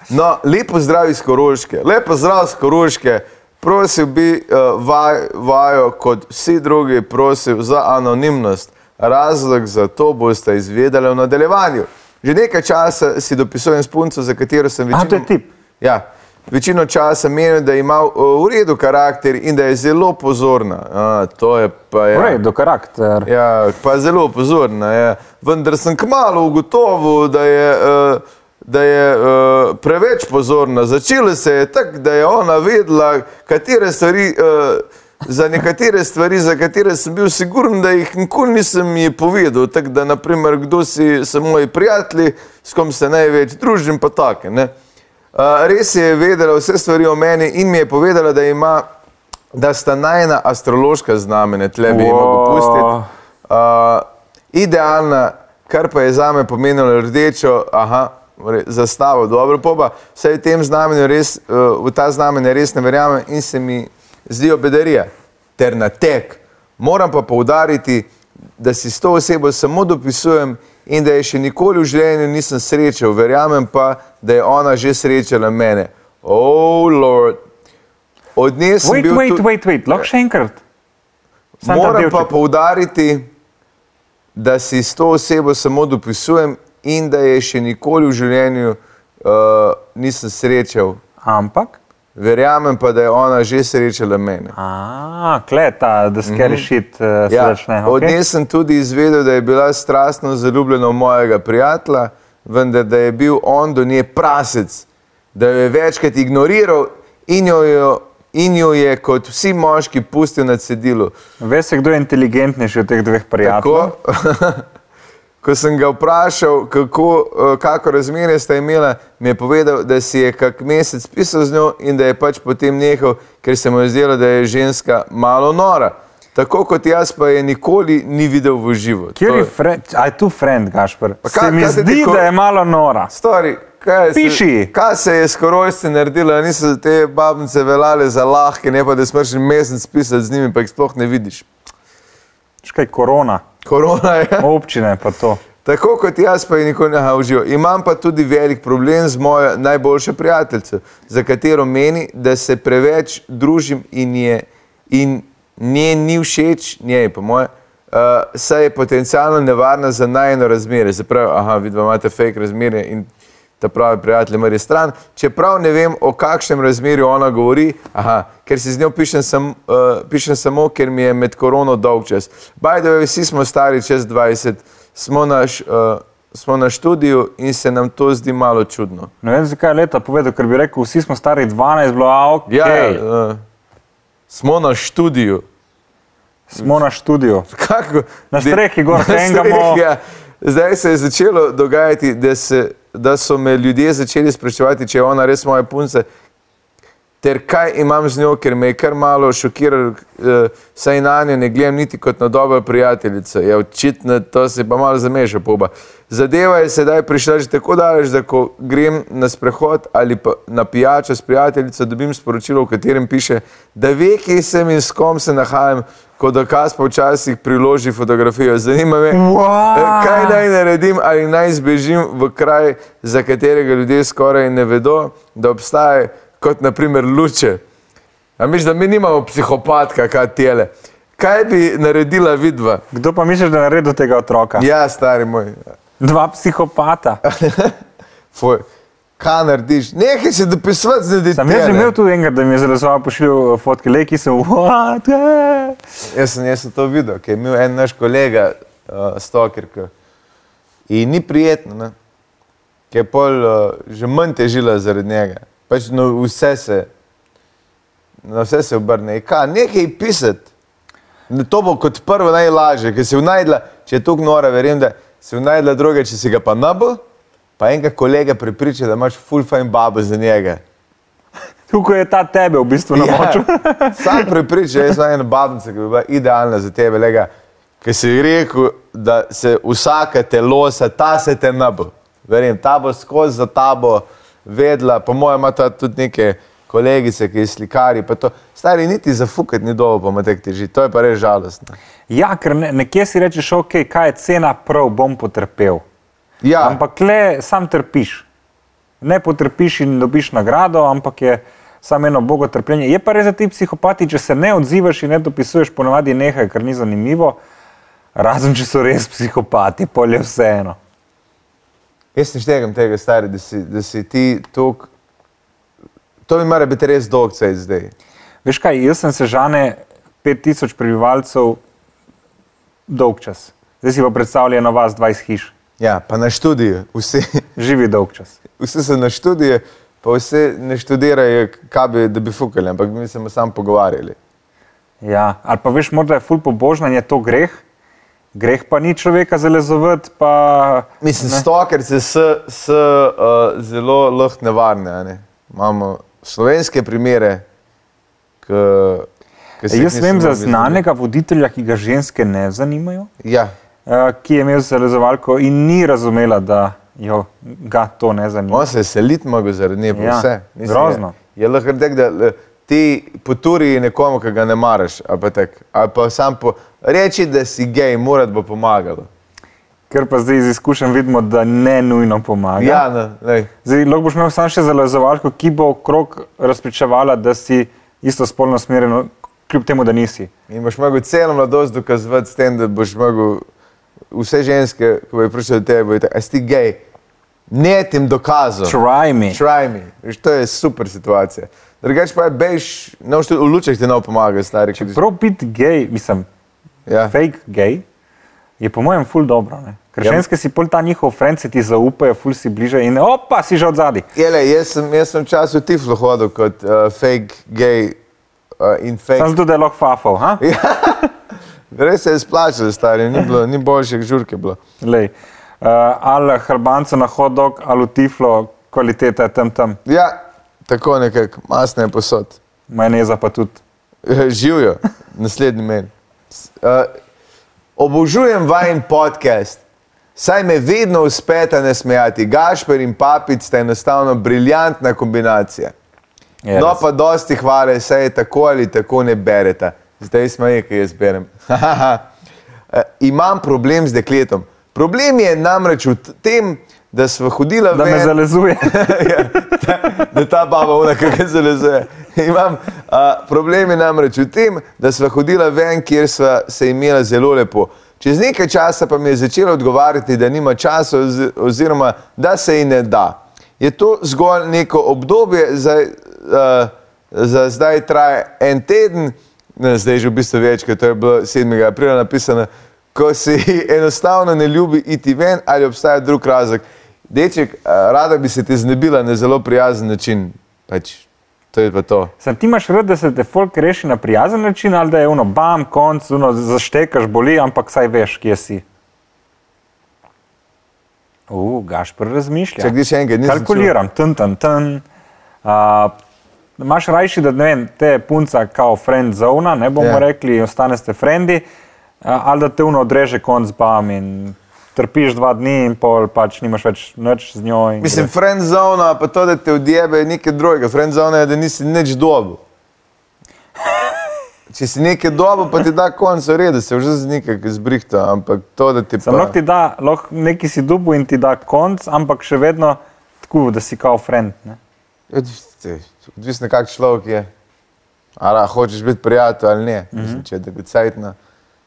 S3: no, lepo zdrav iz Koroške, lepo zdrav iz Koroške. Prosil bi uh, vaj, vajo, kot vsi drugi, prosil za anonimnost. Razlog za to boste izvedeli v nadaljevanju. Že nekaj časa si dopisujem s punco, za katero
S2: A,
S3: sem večino...
S2: to je tip?
S3: Ja, večino časa menim, da ima eh, v redu karakter in da je zelo pozorna. A, to je pa... Ja.
S2: V redu, Torej, karakter.
S3: Ja, pa zelo pozorna je. Vendar sem kmalo ugotovil, da je, eh, da je eh, preveč pozorna. Začelo se je tako, da je ona vedela, katere stvari. eh, Za nekatere stvari, za katere sem bil siguren, da jih nikoli nisem ji povedal. Tako da, naprimer, kdo si, so moji prijatelji, s kom se največ družim, pa take. ne. Eh, Res je vedela vse stvari o meni in mi je povedala, da ima, da sta najna astrološka znamenja, tle bi jim
S2: Wow.
S3: opustiti. Uh, idealna, kar pa je za me pomenilo rdečo, aha, re- zastavo, dobro, pa pa vse v tem znamenju, res, eh, v ta znamenje res ne verjamem in se mi zdijo bedarije ter natek. Moram pa poudariti, da si s to osebo samo dopisujem in da je še nikoli v življenju nisem srečal, verjamem pa, da je ona že srečala mene. Oh, Lord. Od nje sem
S2: Wait,
S3: bil
S2: wait,
S3: tu-
S2: wait, wait, lahko še enkrat. Samo ta
S3: Moram pa
S2: delček.
S3: poudariti, da si s to osebo samo dopisujem in da je še nikoli v življenju uh, nisem srečal.
S2: Ampak,
S3: Verjamem pa, da je ona že srečala mene.
S2: a, kleta, da skeri šit, uh, se
S3: Ja,
S2: začne.
S3: Od
S2: Okay.
S3: nje sem tudi izvedel, da je bila strastno zaljubljena v mojega prijatelja, vendar da je bil on do nje prasec, da jo je večkrat ignoriral in jo, jo, in jo je kot vsi moški pustil na cedilu.
S2: Veš, kdo je inteligentnejši od teh dveh
S3: Tako,
S2: prijateljev?
S3: ko sem ga vprašal, kako, eh, kako razmerje sta imela, mi je povedal, da si je kak mesec pisal z njo in da je pač potem nehal, ker se mu je zdelo, da je ženska malo nora. Tako kot jaz pa je nikoli ni videl v živo.
S2: Kjer
S3: To
S2: je friend, a je tu friend, Gašpr?
S3: ka-
S2: Se mi
S3: kaj se ti
S2: zdi,
S3: ko-
S2: da je malo nora.
S3: Stori, kaj, se,
S2: Piši.
S3: kaj se je s korojci naredilo, a niso te babnice veljale za lahke, ne pa da smrš en mesec pisati z njimi, pa jih sploh ne vidiš.
S2: Škaj korona,
S3: Korona je.
S2: občine pa to.
S3: Tako kot jaz, pa je nikoli ne užival. Imam pa tudi velik problem z mojo najboljšo prijateljico, za katero meni, da se preveč družim in, je, in nje ni všeč, njej po moje, uh, saj je potencialno nevarna za najeno razmerje. Zapravi, aha, vi dva imate fake razmerje in ta pravi prijatelj mrje stran. Čeprav ne vem, o kakšnem razmerju ona govori, aha, ker si z njo pišem, sam, uh, pišem samo, ker mi je med korono dolg čas. Bajdo, vsi smo stari čez 20, smo na, š, uh, smo na študiju in se nam to zdi malo čudno.
S2: Ne vem, zakaj je leta povedal, ker bi rekel, vsi smo stari 12, bilo a ok,
S3: Ja, uh, smo na študiju.
S2: smo na študiju.
S3: Kako?
S2: Na strehi gor
S3: Na
S2: hengamo.
S3: strehi, Ja. Zdaj se je začelo dogajati, da, se, da so me ljudje začeli spraševati, če je ona res moja punca, ter kaj imam z njo, ker me je kar malo šokiralo, eh, saj na njo ne gledam niti kot na dobro prijateljico. Je očitno, to se je pa malo zameša, poba. Zadeva je sedaj prišla že tako daleč, da ko grem na sprehod ali pa na pijačo s prijateljico, dobim sporočilo, v katerem piše, da ve, kje sem in s kom se nahajam, ko dokaz pa včasih priloži fotografijo. Zanima me,
S2: Wow.
S3: eh, kaj naj naj naredim ali naj zbežim v kraj, za katerega ljudje skoraj ne vedo, da obstaja, kot naprimer luče. A miš, da mi nimamo psihopatka, kaj tele. Kaj bi naredila vidva?
S2: Kdo pa misliš, da je naredil tega otroka?
S3: Ja, stari moj.
S2: Dva psihopata.
S3: Foj. Kaj narediš? Nehaj se dopisovati z ljudmi.
S2: Sam jaz sem imel tu enega, da mi je zelo pošiljal eh, fotke, le ki sem, what? eh."
S3: Jaz sem, jaz sem to videl, ker je imel en naš kolega, uh, Stoker, ki- in ni prijetno, ne? ker je pol uh, že manj težila zaradi njega. Pač no, vse se, na vse se obrne. In Kaj, nekaj pisati. Ne, To bo kot prvo najlažje, ker si vnajdla, če je tu nora, verjem, da si vnajdla druga, če si ga pa nabo, pa enega kolega prepriča, da imaš full fajn babo za njega.
S2: Tukaj je ta tebe v bistvu na moču.
S3: Ja. Sam prepričan, jaz sem ena babica, ki bi bila idealna za tebe, lega, ki si rekel, da se vsaka telosa, ta se te nabo. Verjem, ta bo skozi za tabo vedla, po mojem ima ta tudi neke kolegice, ki je slikari, pa to, stari niti zafukati ni dovolj, pa ima tek teži, to je pa res žalostno.
S2: Ja, ker ne, nekje si rečeš, ok, kaj je cena, prav bom potrpel.
S3: Ja,
S2: Ampak le sam trpiš. Ne potrpiš in dobiš nagrado, ampak je samo eno bogo trpljenje. Je pa res, da ti psihopati, če se ne odzivaš in ne dopisuješ, ponavadi je nekaj, kar ni zanimivo, razen če so res psihopati, polje vseeno.
S3: Jaz ne štegam tega, stari, da si, da si ti tok, to bi moralo biti res dolg cajt zdaj.
S2: Veš kaj, jaz sem sežane 5000 prebivalcev dolg čas. Zdaj si pa predstavljaj na vas 20 hiš,
S3: Ja, pa na študiju, vsi.
S2: živi dolg čas.
S3: vsi so na študije, pa vsi ne študirajo, kaj bi, da bi fukali, ampak mi smo samo pogovarjali.
S2: Ja, ali pa veš, morda je ful pobožnanje je to greh, greh pa ni človeka zalezovati, pa
S3: Mislim, stokerce so, so uh, zelo lahko nevarne. a Ne? Imamo slovenske primere, ki
S2: E, Jaz vem za znanega voditelja, ki ga ženske ne zanimajo,
S3: Ja.
S2: eh, ki je imel zalezovalko in ni razumela, da jo, ga to ne zanima.
S3: On se je selit mogel zaradi nje,
S2: Ja,
S3: ja, vse. Mislim,
S2: grozno.
S3: Je, je lahko rekel, da le, ti poturi nekomu, ki ga ne maraš, ali pa, tak, ali pa sam po, reči, da si gej, morat bo pomagalo.
S2: Ker pa zdaj iz izkušenj vidimo, da ne nujno pomaga.
S3: Ja, ne, lej.
S2: Zdaj, lahko boš imel samo še zalezovalko, ki bo okrog razpričevala, da si isto spolno usmerjen, kljub temu, da nisi.
S3: In boš mogel celo mladost dokazovati s tem, da boš mogel vse ženske, ki bojo prišle do tebe, bojo tako, a si ti gej. Ne tem dokazom.
S2: Try me.
S3: Try me. Veš, to je super situacija. Drugač pa je bež, ne boš tudi v lučeh ti ne bo pomagal, stari. ker-
S2: Prav biti gej, mislim,
S3: Ja.
S2: fake gej, je po mojem ful dobro. Ne? Ker
S3: Ja.
S2: ženske si pol ta njihov friend, se ti zaupajo, ful si bliže in opa, si že od zadaj.
S3: Jele, jaz sem, jaz sem včasih v Tiflu hodil kot uh, fake gay uh, in
S2: Sam
S3: fake.
S2: zato, da je lahko fafal. ha?
S3: Res se je splačalo, stari, ni, bilo, ni boljše žurke bilo.
S2: Glej, Uh, ali hrbanco na hodok, ali v tiflo, kvaliteta je tam tam,
S3: Ja, tako nekako, masne je posod.
S2: majoneza pa tudi.
S3: Živijo, naslednji meni. S- Uh, obožujem vajen podcast. Saj me vedno uspeta nasmejati. Gašper in papic sta enostavno briljantna kombinacija.
S2: Je,
S3: No,
S2: res.
S3: pa dosti hvale, saj je tako ali tako ne berete. Zdaj smo je, ki jaz berem. Eh, Imam problem z dekletom. Problem je namreč v t- tem, da smo hodila
S2: da me
S3: ven-
S2: zalezuje.
S3: da ta baba unaka zaleze. Imam, a, problem je namreč v tem, da sva hodila ven, kjer sva se imela zelo lepo. Čez nekaj časa pa mi je začela odgovarjati, da nima časa oz- oziroma da se ji ne da. Je to zgolj neko obdobje, za, a, za zdaj traja en teden, ne, zdaj je že v bistvu več, ker to je bilo 7. aprila napisano, ko se ji enostavno ne ljubi iti ven ali obstaja drug razlog. Deček, eh, rada bi se ti znebila na zelo prijazen način. Pač, to je pa to.
S2: Sam ti imaš rad, da se te folk reši na prijazen način, ali da je ono, bam, konc, ono, zaštekaš, boli, ampak saj veš, kje si. Uf, Gašpr razmišlja.
S3: Čakaj, še enkrat, nisem
S2: Kalkuliram, ten, ten, ten. Uh, Máš rajši, da ne vem, te je punca kao friend zona, ne bomo
S3: Ja.
S2: yeah. rekli, ostane ste frendi, a, ali da te uno odreže konc bam in trpiš dva dni in pol pač nimaš več noč z njo. in
S3: Mislim,
S2: gre.
S3: friend zona, pa to, da te odjebe, je nekaj drugega. Friend zona je, da nisi nič dobil. Če si nekaj dobil, pa ti da konc v redu, se že z nekaj zbrihta, ampak to, da ti
S2: Sam
S3: pa...
S2: lahko ti da, lahko neki si dubu in ti da konc, ampak še vedno tako, da si kao friend. Ne?
S3: Odvisno, Ja, odvisno kak človek je. Ali hočeš biti prijatelj ali ne. Mm -hmm. Mislim, če je tako cajtna.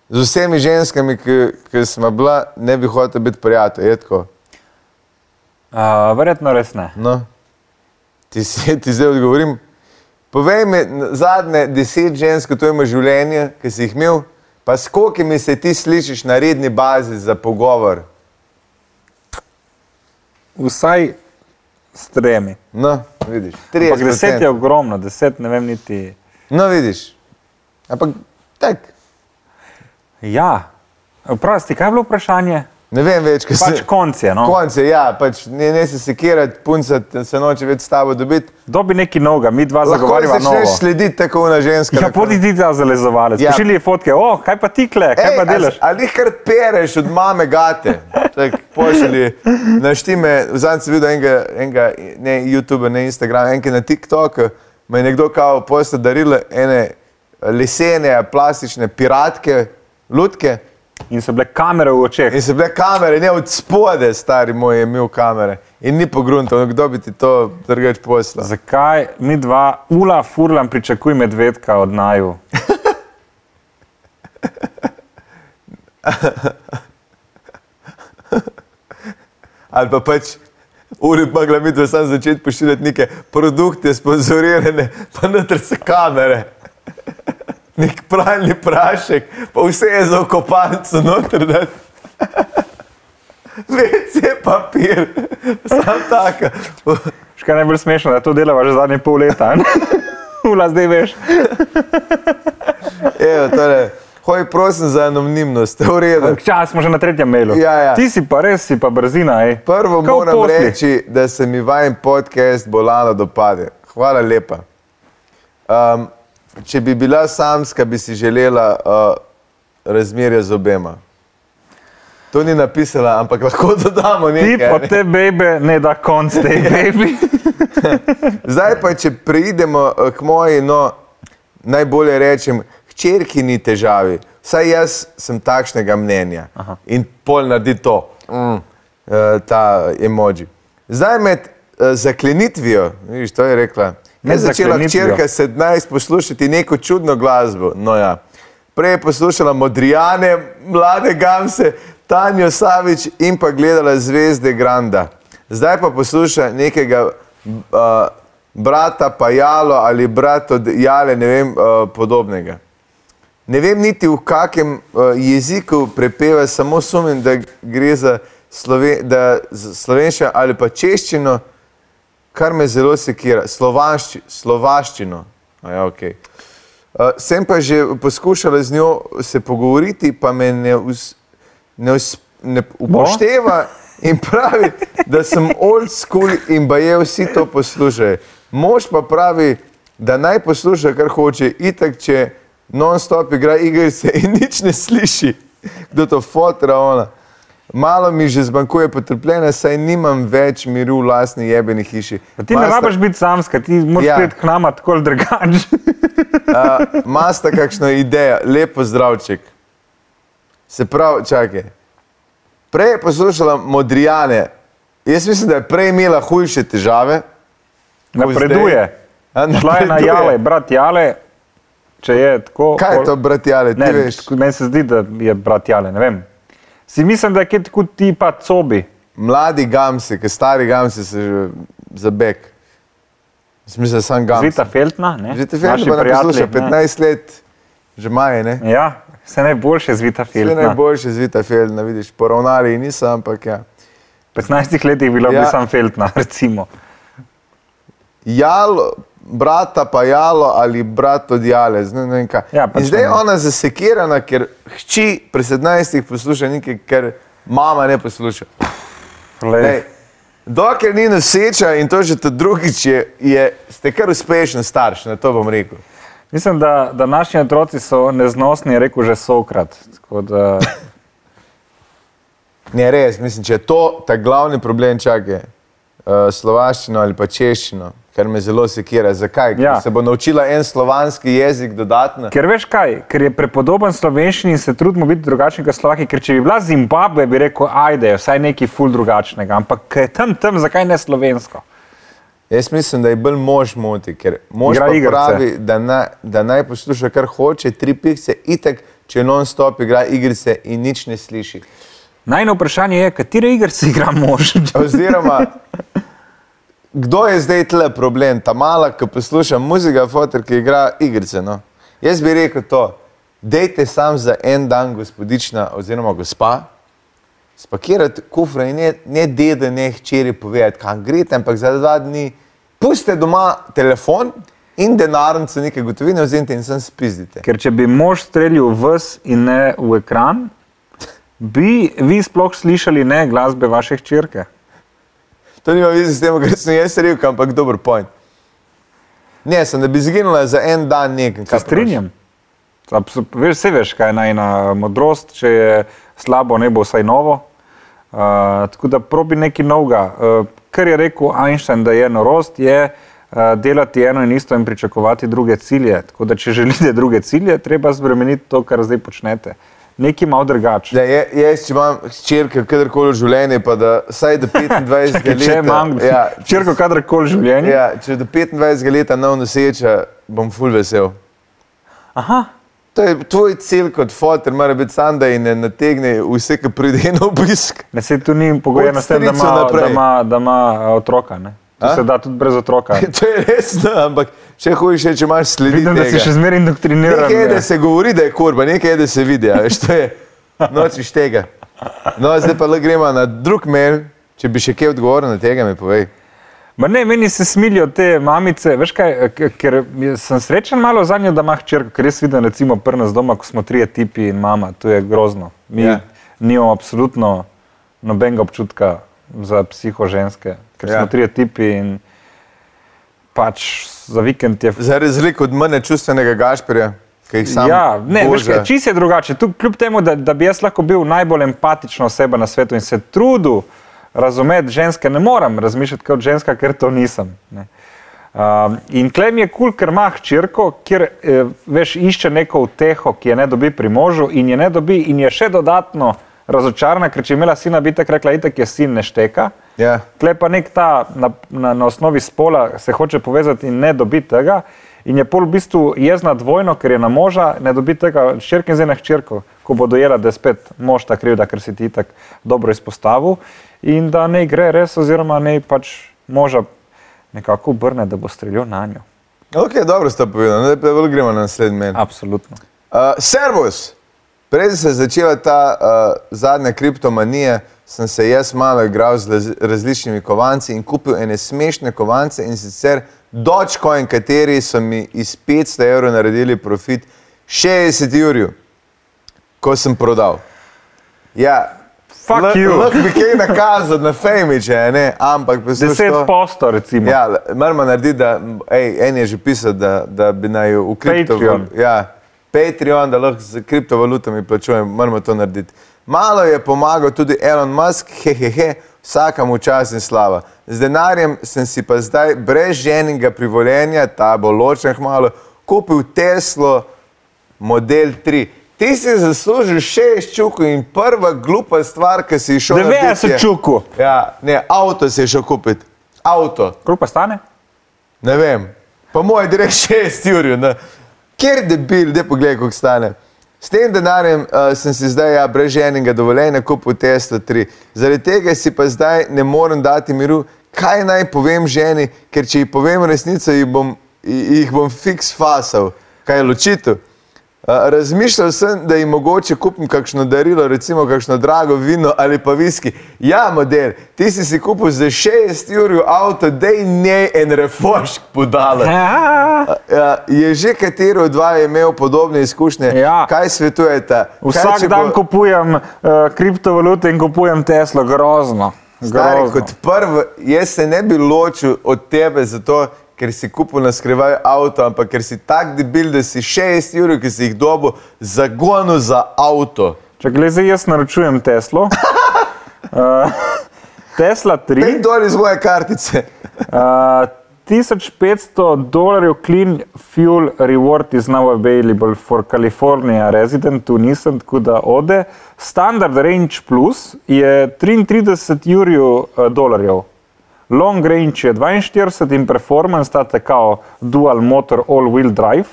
S3: Z vsemi ženskami, ki, ki smo bila, ne bi hotel biti prijatelj. Je tako.
S2: Uh, verjetno res ne.
S3: No. Ti, si- ti zdaj odgovorim. Povej mi n- zadnje deset žensk, ki to ima življenje, ki si jih imel, pa s kolikimi se ti slišiš na redni bazi za pogovor.
S2: Vsaj s tremi.
S3: No, vidiš.
S2: Ampak
S3: 30%.
S2: deset je ogromno, deset ne vem niti.
S3: No, vidiš. Ampak tak.
S2: Ja, prosti, kaj je bilo vprašanje?
S3: Ne vem več, kaj
S2: Pač konc je. No?
S3: Konce, ja, pač ne, ne se sekirati, punca te- se noče več s tabo dobiti.
S2: Dobi neki novega, mi dva
S3: Lahko
S2: zagovarjava novo.
S3: začneš slediti tako na ženska.
S2: Ja,
S3: na koncu.
S2: podi ti ta zalezovalec.
S3: Ja.
S2: Ja. Pošilji fotke, o, kaj pa ti kle, kaj
S3: Ej,
S2: pa
S3: a-
S2: delaš?
S3: Ali jih kar pereš od mame gate? Tak, Pošlji, naštime, zadnjič sem videl enega, enega, ne YouTube, ne Instagram, enega na TikToku, me je nekdo kao posta daril ene lesene, plastične piratke, lutke
S2: In so bile kamere v očeh.
S3: in so bile kamere, ne od spode, stari moj je imel kamere in ni pogruntal, kdo bi ti to drugač poslal.
S2: Zakaj mi dva, ula, furlan, pričakuj medvedka od naju?
S3: ali pa pač urib mogla biti, da sem začeti pošiljati neke produkte, sponzorirane, pa noter se kamere. Nek pralni prašek, pa vse je za okopalnico noter. da- WC papir, sam tako.
S2: Še kaj najbolj smešno, da to delava že zadnje pol leta. ne? Ula, zdaj veš.
S3: Evo, tole, hoj prosim za anonimnost, v redu.
S2: Čas smo že na tretjem mailu.
S3: Ja, ja.
S2: Ti si pa res, si pa brzina. Ej.
S3: Prvo
S2: Kaj v
S3: moram
S2: posli?
S3: reči, da se mi vajen podcast bolano dopade. Hvala lepa. Um, če bi eh, bila samska, bi si želela uh, razmerje z obema. To ni napisala, ampak lahko dodamo nekaj.
S2: Ti
S3: ne? Ja.
S2: po te bebe ne da konc tej bebi.
S3: Zdaj pa, če preidemo eh, k moji, no, najbolje rečem, hčerki ni težavi. Vsaj jaz sem takšnega mnenja. Aha. In pol naredi to, mm, eh, ta emoji. Zdaj med eh, zaklenitvijo, vidiš, to je rekla. Ne
S2: Med
S3: začela
S2: zaklenitvijo.
S3: hčerka 17 poslušati neko čudno glasbo. No, ja. Prej je poslušala Modrijane, mlade Gamse, Tanja Savič in pa gledala zvezde Granda. Zdaj pa posluša nekega uh, brata Pajalo ali brat od Jale, ne vem, uh, podobnega. Ne vem niti v kakem uh, jeziku prepeva, samo sumim, da gre za sloven, da z- slovenščino ali pa češčino, kar me zelo sekira, Slovanšči, slovaščino. A Ja, okay. uh, sem pa že poskušala z njo se pogovoriti, pa me ne, us, ne, us, ne upošteva in pravi, da sem old school in pa je vsi to poslušajo. Mož pa pravi, da naj posluša, kar hoče, itak, če non-stop igra igrice in nič ne sliši, kdo to fotra ona. Malo mi že zmanjkuje potrpljenja, saj nimam več miru v lastni jebeni hiši.
S2: Ti ne
S3: Masta-
S2: rabiš biti samska, ti moraš
S3: Ja.
S2: ja. priti k nam tako ali drugače.
S3: Masta kakšna ideja, lepo zdravček. Se pravi, čakaj. Prej je poslušala Modrijane, jaz mislim, da je prej imela hujše težave. zdaj-
S2: Napreduje.
S3: A,
S2: Šla je na
S3: napreduje.
S2: Jale, brat Jale, če je tako.
S3: Kaj je
S2: pol-
S3: to, bratjale, ti
S2: Ne,
S3: veš?
S2: tako- meni se zdi, da je brat Jale, ne vem. Si mislim, da je kje tako tipa cobi.
S3: Mladi gamsi, ki stari gamsi se že zabek. Smisel, da sem gamsi.
S2: Zvita Feltna, ne?
S3: Že te veš,
S2: Naši
S3: da ne
S2: prijatelji,
S3: posluša
S2: ne.
S3: 15 let, že maje, ne?
S2: Ja, vse najboljše zvita
S3: Vse
S2: Feltna.
S3: najboljše zvita Feldna, vidiš, poravnali in nisem, ampak ja.
S2: 15 letih bila
S3: Ja.
S2: ja. sam Feltna, recimo.
S3: Jalo, brata pa jalo ali brat od jale, ne, ne vem kaj.
S2: Ja,
S3: in
S2: pač
S3: zdaj je
S2: ne.
S3: ona zasekirana, ker hči pri 17 posluša nekaj, ker mama ne posluša.
S2: Glej,
S3: Ej, dokler ni noseča in to že ta drugič je, je, ste kar uspešen starš, na to bom rekel.
S2: Mislim, da, da naši otroci so neznosni, je rekel že Sokrat. Tako Da,
S3: Ne, res, mislim, če je to ta glavni problem, čakaj, uh, slovaščino ali pa češčino, kar me zelo sekira. Zakaj? Ker
S2: Ja.
S3: Se bo naučila en slovanski jezik dodatno.
S2: ker veš kaj, ker je prepodoben slovenščini in se trudimo biti drugačni kot Slovaki, ker če bi bila Zimbabve, bi rekel, ajde, je vsaj nekaj ful drugačnega, ampak ker je tam, tam, zakaj ne slovensko?
S3: Jaz mislim, da je bolj mož moti, ker mož
S2: Igra
S3: pa
S2: igrice.
S3: pravi, da, na, da naj posluša, kar hoče, tri pikce, itek, če non-stop igra igrice in nič ne sliši.
S2: Najno vprašanje je, katere igre si igra mož?
S3: Oziroma, kdo je zdaj tle problem, ta mala, ki posluša muzika, fotor, ki igra igrice. No? Jaz bi rekel to, dejte sam za en dan, gospodična oziroma gospa, spakirati kufre in ne, ne dede, ne hčeri povedati, kam greste, ampak za dva dni pustite doma telefon in denarnico neke gotovine vzemite in sem spizdite.
S2: Ker če bi mož streljal v vas in ne v ekran, bi vi sploh slišali ne glasbe vaše hčerke.
S3: To nima veze s tem, kar sem jaz rekel, ampak dober point. Ne, sem da bi izginila za en dan nekaj.
S2: Se strinjam. Absu- Veš, vse veš, kaj je najna modrost, če je slabo, ne bo vsaj novo. Uh, tako da probi nekaj novega. Uh, kar je rekel Einstein, da je norost, je uh, delati eno in isto in pričakovati druge cilje. Tako da, če želite druge cilje, je treba spremeniti to, kar zdaj počnete. Nekaj malo drugače.
S3: Da, je, jaz, če imam hčerke, kadarkoli v življenju, pa da vsaj do 25
S2: Čakaj,
S3: let.
S2: Če imam
S3: ja, če,
S2: črko kadarkoli v življenju,
S3: ja, če do 25 let nov noseča, bom ful vesel.
S2: Aha.
S3: To je tvoj cilj kot fotor, mora biti sam, da ji ne nategne vse, kar pride na obisk.
S2: Ne, saj tu ni pogojeno s tem, da
S3: stricu
S2: ima, da
S3: naprej.
S2: ima, da ima eh, otroka. Ne? To
S3: A?
S2: se da tudi brez otroka.
S3: to je resno, ampak še hujše, če imaš sledi.
S2: Vidim, da si
S3: tega.
S2: še zmeraj indoktriniran.
S3: Nekaj je, da
S2: eh.
S3: se govori, da je kurba, nekaj je, da se vidi, a veš, to je nočiš tega. No, zdaj pa lahko gremo na drug mail, če bi še kje odgovoril na tega, mi povej.
S2: Ma Ne, meni se smilijo te mamice, veš kaj, eh, k- ker je- sem srečen malo za njo, da ima hčerko, ker jaz vidim recimo prnas doma, ko smo trije tipi in mama, to je grozno. Mi
S3: Ja.
S2: yeah. nimamo absolutno nobenega občutka za psihoženske, ker
S3: Ja.
S2: yeah. smo trije tipi in pač za vikend je
S3: Za razliko od mene čustvenega gašperja, ki jih sam.
S2: Ja, ne, veš,
S3: boža.
S2: kaj, čisto je drugače. Tu, kljub temu, da, da bi jaz lahko bil najbolj empatična oseba na svetu in se trudil razumeti ženske, ne morem razmišljati kot ženska, ker to nisem. Ne. Um, in klem je kul, cool, ker ima hčerko, kjer eh, veš, išče neko uteho, ki je ne dobi pri možu in je ne dobi, in je še dodatno razočarana, ker če je imela sina, bi tako rekla, itak je sin ne šteka.
S3: Ja.
S2: Tle pa nek ta na, na, na osnovi spola se hoče povezati in ne dobi tega. In je pol v bistvu jezna dvojno, ker je na moža, ne dobi tega ščirke in zdaj na hčerko, ko bo dojela, da je spet mož ta krivda, ker si ti tako dobro izpostavil in da ne gre res, oziroma ne pač moža nekako obrne, da bo streljal na njo.
S3: Ok, dobro ste povedali, no, zdaj pa bolj gremo na naslednji meni.
S2: Absolutno.
S3: Uh, servus! Preden se je začela ta uh, zadnja kriptomanija, sem se jaz malo igral z laz- različnimi kovanci in kupil ene smešne kovance in sicer Dogecoin, kateri so mi iz 500 evrov naredili profit 60 jurjev, ko sem prodal. Ja,
S2: Fuck
S3: lah-
S2: you.
S3: Lahko bi kaj nakazal na fejmiče, ne? ampak
S2: Deset
S3: poslušaj.
S2: posto, recimo.
S3: Ja, le- moramo narediti, da ej, en je že pisal, da, da bi naj
S2: Patreon.
S3: v kriptovalutah. Ja, Patreon, da lahko z kriptovalutami plačujem, moramo to narediti. Malo je pomagal tudi Elon Musk, hehehe, vsakemu čas in slava. Z denarjem sem si pa zdaj brez ženega privoljenja, ta bo ločen malo, kupil Teslo model 3. Ti si zaslužil šest čukov in prva glupa stvar, ki si šel.
S2: 90 čuku.
S3: Ja, ne, avto si je šel kupiti. Avto.
S2: Koliko pa stane?
S3: Ne vem, po mojem, direkt 6 ur. Ker debil, da pogled, koliko stane. S tem denarjem uh, sem si zdaj ja, brez enega dovoljenja kupil Tesla 3. Zaradi tega si pa zdaj ne morem dati miru, kaj naj povem ženi, ker če ji povem resnico, jih bom, ji- jih bom fiks fasal. Kaj je ločitev? Uh, Razmišljal sem, da jim mogoče kupim kakšno darilo, recimo kakšno drago vino ali pa viski. Ja, model, ti si si kupil za 6 ur avto, dej njej en refošk podala.
S2: Ja.
S3: Uh, Je že katero od vaju imel podobne izkušnje?
S2: Ja.
S3: Kaj svetujete?
S2: Vsak dan bo... kupujem uh, kriptovalute in kupujem Teslo, grozno.
S3: Stari,
S2: grozno.
S3: kot prvo, jaz se ne bi ločil od tebe zato, ker si kupil na skrivaj avto, ampak ker si tak debil, da si 6 ur, ki si jih dobil, zagonil za avto.
S2: Če gledaj, jaz naročujem Teslo. Uh, Tesla
S3: Pej
S2: 3,
S3: dol iz moje kartice.
S2: uh, 1500 dolarjev clean fuel reward is now available for California resident, tu nisem, tako da ode. Standard range plus je 33 jurjev eh, dolarjev. Long range je 42 in performance, ta ta kao dual motor all-wheel drive,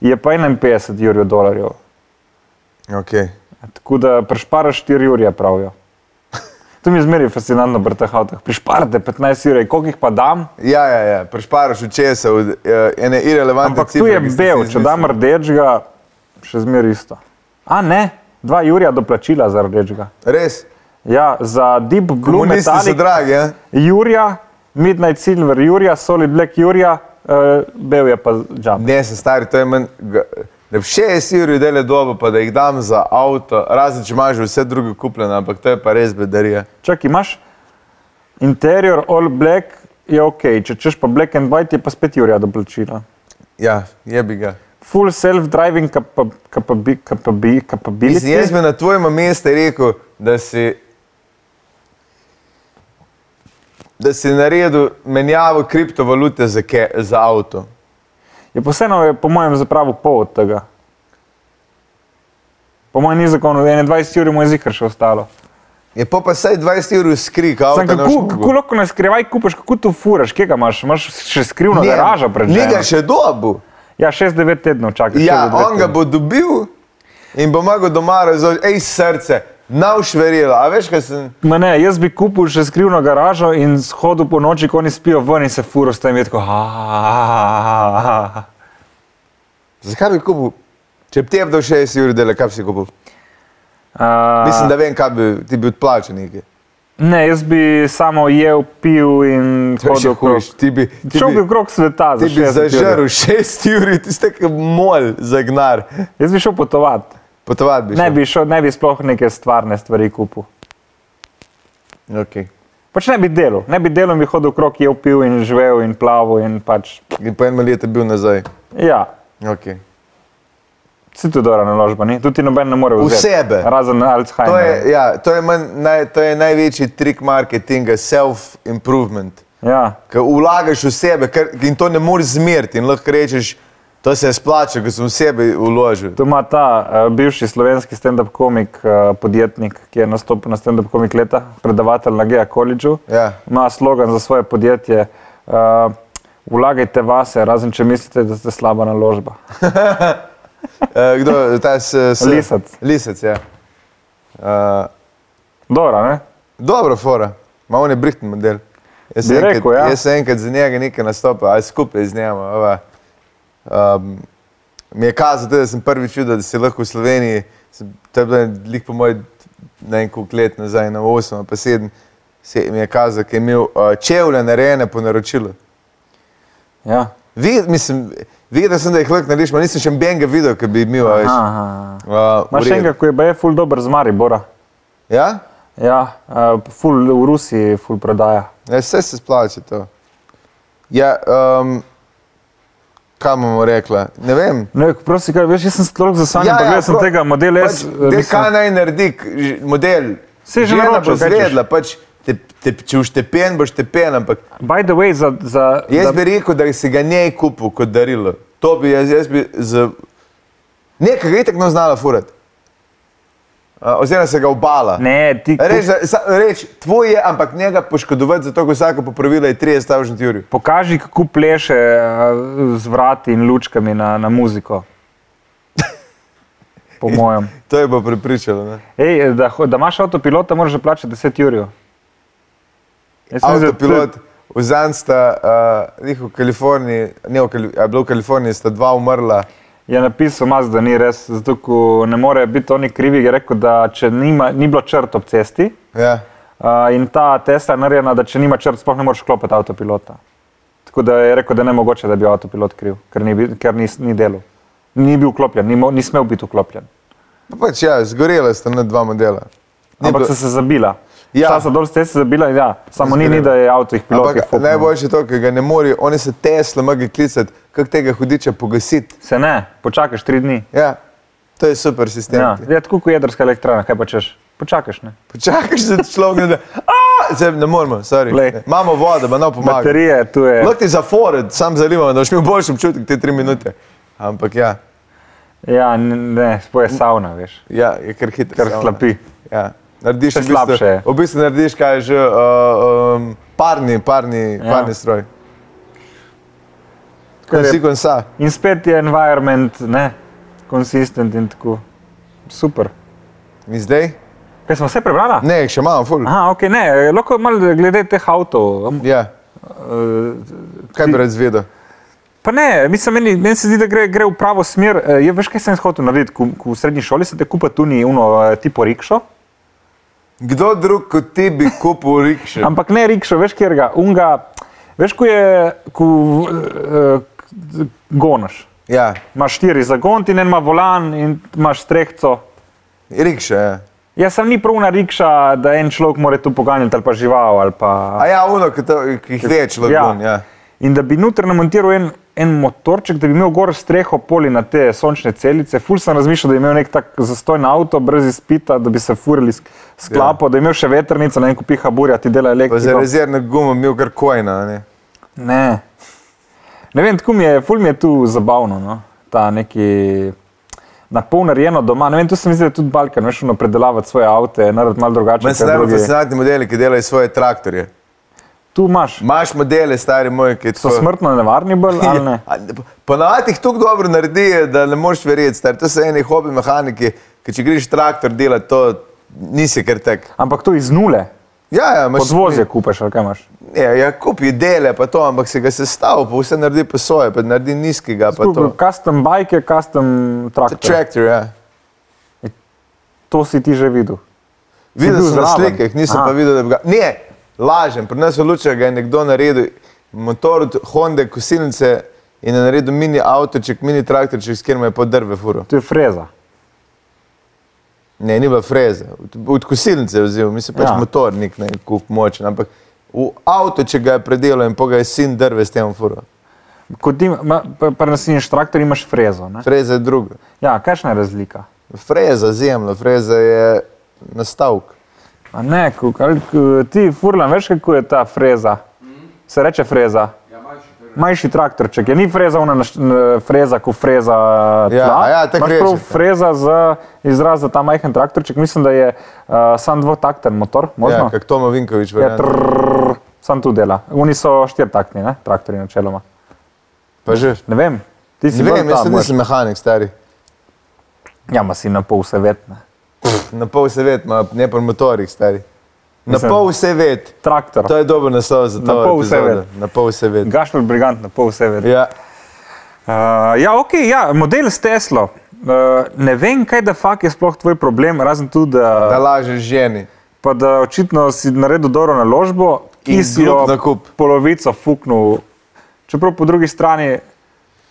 S2: je pa 51 jurjev dolarjev.
S3: Okay.
S2: Tako da prešparaš 4 ure, pravijo. To mi je zmeraj fascinantno pri teh avtomobilih. Prešparate 15 ur, koliko jih pa dam,
S3: Ja, ja, ja. prešparaš od česa, od uh, ene irelevantne
S2: ampak tu je bel, če dam rdečega, še zmeraj isto. A ne, 2 ure do plačila za rdečega.
S3: Res,
S2: Ja, za Deep Blue
S3: komunisti so
S2: Metallic,
S3: dragi. Ja?
S2: Jurija, Midnight Silver Jurija, Solid Black Jurija, uh, bel je pa jump.
S3: Ne, sem star, to je meni. Da bi še jaz juril dele dobo, pa da jih dam za avto, razen če imaš že vse druge kupljene, ampak to je pa res ja. bedarija.
S2: Čakaj, imaš interior all black, je ok, če češ pa black and white, je pa spet Jurija do plačila.
S3: Ja, je bi ga.
S2: full self-driving capa- capabi- capabi-
S3: Mislim, jaz
S2: capability.
S3: bi na tvojem mestu rekel, da si, da si naredil menjavo kriptovalute za, ke, za avto.
S2: Je pa vseeno, je po mojem, zapravo pol od tega. Po mojem, ni zakonu, 21 ur mu je zikr še ostalo.
S3: Je pa pa vsaj 20 ur skrik, avto.
S2: Sam, kako, kako lahko na skrivaj kupiš, kako to furaš, kje ga imaš, imaš še skrivno garažo pred
S3: Ni
S2: njim.
S3: ga še dobu.
S2: Ja, 6-9 tednov čakaš. šest do
S3: Ja,
S2: devet
S3: on ga
S2: tednov.
S3: bo dobil in bo mogel doma razložiti, hej, srce, nauš verjela. A veš, kaj sem.
S2: Ma ne, jaz bi kupil še skrivno garažo in shodil po noči, ko oni spijo ven in se furo s tem jedko.
S3: Zakaj bi kupil? Če bi ti je dal 60 ur dela, kaj bi si kupil? Mislim, da vem, kaj bi ti bil odplačen. nekaj.
S2: Ne, jaz bi samo jedel, pil in
S3: To je še
S2: hodil okrog.
S3: hujše. Ti bi, Torej ti
S2: Šel bi
S3: bi,
S2: okrog sveta,
S3: ti
S2: za
S3: bi
S2: 60 ur.
S3: zažrl 6 ur, ti ste kot mol zagnar.
S2: Jaz bi šel potovati,
S3: Potovati bi.
S2: ne
S3: šel.
S2: bi, šel, ne bi sploh neke stvarne stvari kupil.
S3: Okay.
S2: Pač ne bi delal, ne bi delal, in bi hodil okrog, jedel, pil in živel in plaval in pač.
S3: In po enem letu bil nazaj.
S2: Ja,
S3: Okay.
S2: Si tudi dobra naložba, ni? Tudi ti noben ne more vzeti.
S3: sebe.
S2: Razen Alzheimer.
S3: To je, ja, to je, manj, naj, to je največji trik marketinga, self-improvement.
S2: Ja.
S3: Ker vlagaš v sebe ker, in to ne moreš zmeriti, in lahko rečeš, to se je splača, ker sem v sebe vložil.
S2: To ima ta uh, bivši slovenski stand-up komik, uh, podjetnik, ki je nastopil na stand-up komik leta, predavatelj na Gea Collegeu.
S3: Ja.
S2: Ima slogan za svoje podjetje: uh, Vlagajte vase, razen če mislite, da ste slaba naložba.
S3: Uh, kdo, ta s, s,
S2: Lisec.
S3: Lisec, ja. Uh,
S2: Dobro, ne?
S3: Dobro, fora, malo ne brihten model. Jaz
S2: Bi
S3: sem
S2: rekel, ja.
S3: Jaz sem enkrat za njega nekaj nastopil, ali skupaj z njim. Um, mi je kazalo, tudi, da sem prvič videl, da si lahko v Sloveniji, sem- to je bilo lik po mojem, ne vem koliko let nazaj, na 8 ali pa 7, se mi je kazalo, da je imel uh, čevlje narejene po naročilu.
S2: Ja.
S3: Videl, mislim, videl sem, da jih lahko narediš, ma nisem še enega videl, ki bi imel. a veš.
S2: Aha.
S3: Uh, v
S2: Imaš
S3: redu.
S2: enega, ki je bil ful dober z Maribora.
S3: Ja?
S2: Ja, uh, ful v Rusiji, ful prodaja.
S3: Ja, vse se splača to. Ja, um, kam bomo rekla? Ne vem.
S2: Ne, prosi, kaj veš, jaz sem strogo zasanjal, ja, ja, sem
S3: pro-
S2: tega modela
S3: pač,
S2: S.
S3: Dej, kaj naj naredi, k- ž- model.
S2: eh, Saj že
S3: Žena
S2: naročil,
S3: bo
S2: kaj češ.
S3: zvedla, pač, te, te, če boš tepen, boš tepen, ampak
S2: By the way, za, za,
S3: jaz
S2: da-
S3: bi rekel, da si ga njej kupil kot darilo. To bi jaz, jaz bi z... Nekaj ga je tako znala furati. Uh, oziroma se ga obala.
S2: ne, ti,
S3: Reč, da- sa- reč, tvoj je, ampak njega poškodovati, zato ko vsako popravilo je 30 stavžnih jurij.
S2: Pokaži, kako pleše eh, z vrati in lučkami na, na muziko. Po mojem.
S3: To je pa pripričalo. Ne?
S2: Ej, da, ho- da imaš avtopilota, moraš plačati 10 jurjev. Jaz sem mislil,
S3: Avtopilot, vzan sta, uh, jih v Kaliforniji, ne v Kaliforniji, a bilo v Kaliforniji, sta dva umrla.
S2: Je napisal Maz, da ni res, zato ko ne more biti oni krivi. Je rekel, da če nima, ni bilo črt ob cesti
S3: Ja.
S2: uh, in ta Tesla je narejena, da če nima črt, sploh ne moreš klopiti avtopilota. Tako da je rekel, da je nemogoče, da bi avtopilot kriv, ker ni, bil- ker ni, ni delal. Ni bil vklopljen, ni, mo- ni smel biti vklopljen.
S3: Pa pač ja, zgorela sta na dva modela. Ni
S2: Ampak so
S3: bilo-
S2: se zabila.
S3: Ja.
S2: Ja. Šla so dol, ste se zabila, ja. samo ni,
S3: Zgrelo.
S2: ni, da je avto jih pilot.
S3: Ampak najboljše je to, ker ga ne morejo, oni se Tesla morajo klicati, kako tega hudiča pogasiti.
S2: Se ne, počakaš tri dni.
S3: Ja, to je super sistem.
S2: Ja.
S3: Ja.
S2: Je tako kot jedrska elektrarna, kaj pa češ? Počakaš, ne?
S3: Počakaš, da človek ne da, "A, zdaj ne moremo, sorry.
S2: Glej.
S3: Ne. imamo vodo, pa nam pomaga.
S2: Baterije, tu je.
S3: Lahko ti zafored, sam zanimamo, da boš imel boljši občutek te tri minute. Ampak ja,
S2: Ja, n- ne, spoje savna, veš,
S3: ja je kar hitro.
S2: ker
S3: samo, ne.
S2: slapi.
S3: Ja. Narediš
S2: Še
S3: v bistvu-
S2: slabše je.
S3: V bistvu narediš kaj že, uh, um, parni, parni, ja.
S2: Ja.
S3: parni stroj.
S2: Kar
S3: Kot
S2: je-
S3: si konca.
S2: In spet je environment, ne, konsistent in tako. Super.
S3: In zdaj?
S2: Kaj smo vse prebrala?
S3: Ne, še imamo, ful.
S2: Aha, ok, ne, eh, lahko malo glede teh avtov. am-
S3: Ja.
S2: Uh,
S3: Kaj bi rad zvedel?
S2: Pa ne, mislim, meni, meni se zdi, da gre, gre v pravo smer. Eh, Je, veš, kaj sem jaz hotel narediti? Ko, ko v srednji šoli se te kupa tu ni uno eh, tipo rikšo,
S3: Kdo drug kot ti bi kupil rikšo?
S2: ampak ne rikšo, veš, kjer ga, unga, veš, ko je, ko eh, eh, gonaš.
S3: Ja,
S2: Imaš štiri zagon, ti en ima volan in imaš strehco.
S3: rikšo, ja.
S2: Jaz sem ni pravna rikša, da en človek mora tu poganjati ali pa žival ali pa...
S3: A ja, ono, ki to- ki jih več lagun, ja.
S2: In da bi noter namontiral en, en motorček, da bi imel gor streho poli na te sončne celice. Ful sem razmišljal, da bi imel nek tak zastojn avto, brez izpita, da bi se furili sk- sklapo, ja. da bi imel še veternico, ne vem, ko piha burja, ti dela
S3: Pa za
S2: elektriko.
S3: rezervno gumo imel kar kojna, a ne?
S2: Ne. ne vem, tako mi je, ful mi je tu zabavno, no? ta neki na pol narejeno doma. Ne vem, tu se mi zdi, da je tudi Balkan, veš, ono predelavati svoje avte, narediti malo drugače.
S3: Meni so
S2: kot
S3: najbolj
S2: drugi.
S3: fascinantni modeli, ki delajo svoje traktorje.
S2: Tu imaš,
S3: Imaš modele, stari moj, ki
S2: so
S3: tako-
S2: smrtno nevarni bolj ali ne?
S3: A ne- Ponavadi jih tako dobro naredi, da ne moreš verjeti, star. to so eni hobi mehaniki, ki če greš traktor delati, to nisi kar tak.
S2: Ampak to iz nule.
S3: Ja, ja, imaš
S2: Podvozje kupaš, ali kaj imaš?
S3: Ja, ja, kupi dele, pa to, ampak se ga sestavi, pa vse naredi po svoje, pa naredi nizkega, pa
S2: Tako,
S3: to.
S2: Custom bike, custom traktor.
S3: Traktor, ja.
S2: To si ti že videl.
S3: Videl
S2: bil
S3: sem na
S2: zraven?
S3: slikah, nisem
S2: Aha.
S3: pa videl, da bi ga. Ne, lažem, pri nas v Lučah ga je nekdo naredil, motor od Honda, kosilnice in je naredil mini avtoček, mini traktorček, s katerim je podrve furo.
S2: To je freza.
S3: Ne, ni bila freza, od, od kosilnice je vzel, mislim pač ja.
S2: Ja.
S3: motornik, ne kup močen, ampak v avto, če ga je predelal in pa ga je sin drve s tem furo.
S2: Kot ti, ma, pa- pa nas inštruktor imaš frezo. Ne?
S3: Freza je druga.
S2: Ja, kakšna je razlika?
S3: Freza, zemlja, freza je nastavek. Ja,
S2: A ne, kuk, ali, k, ti furlan, veš kako je ta freza? Se reče freza. Manjši traktorček, je ni freza, ona naš- n- freza, ko freza tla.
S3: Ja, a ja, tako
S2: Imaš prav
S3: rečete.
S2: freza za izraz za ta majhen traktorček, mislim, da je uh, sam dvotakten motor, možno?
S3: Ja, kako Toma Vinkovič
S2: je
S3: verjame.
S2: trrr, sam tu dela. Oni so štirtaktni, ne, traktori načeloma.
S3: Pa že.
S2: Ne vem, ti si
S3: Ne
S2: bolj
S3: vem,
S2: ta
S3: jaz sem
S2: mož.
S3: nisem mehanik, stari.
S2: Ja, ma si na pol vse vetne.
S3: Na pol se ved, ma ne pa motorih, stari. Na
S2: Mislim-
S3: pol se ved.
S2: Traktor.
S3: To je dober naslov za to.
S2: Na pol se
S3: epizodo.
S2: ved.
S3: Na pol se ved.
S2: Gašpor Brigant na pol vse vetne.
S3: Ja.
S2: Uh, ja, ok, ja, model s Teslo. Uh, ne vem, kaj da fak je sploh tvoj problem, razen tu,
S3: Da
S2: da,
S3: lažeš ženi.
S2: pa da očitno si naredil dobro naložbo, ki
S3: In
S2: si jo
S3: glup nakup.
S2: polovico fuknil. Čeprav po drugi strani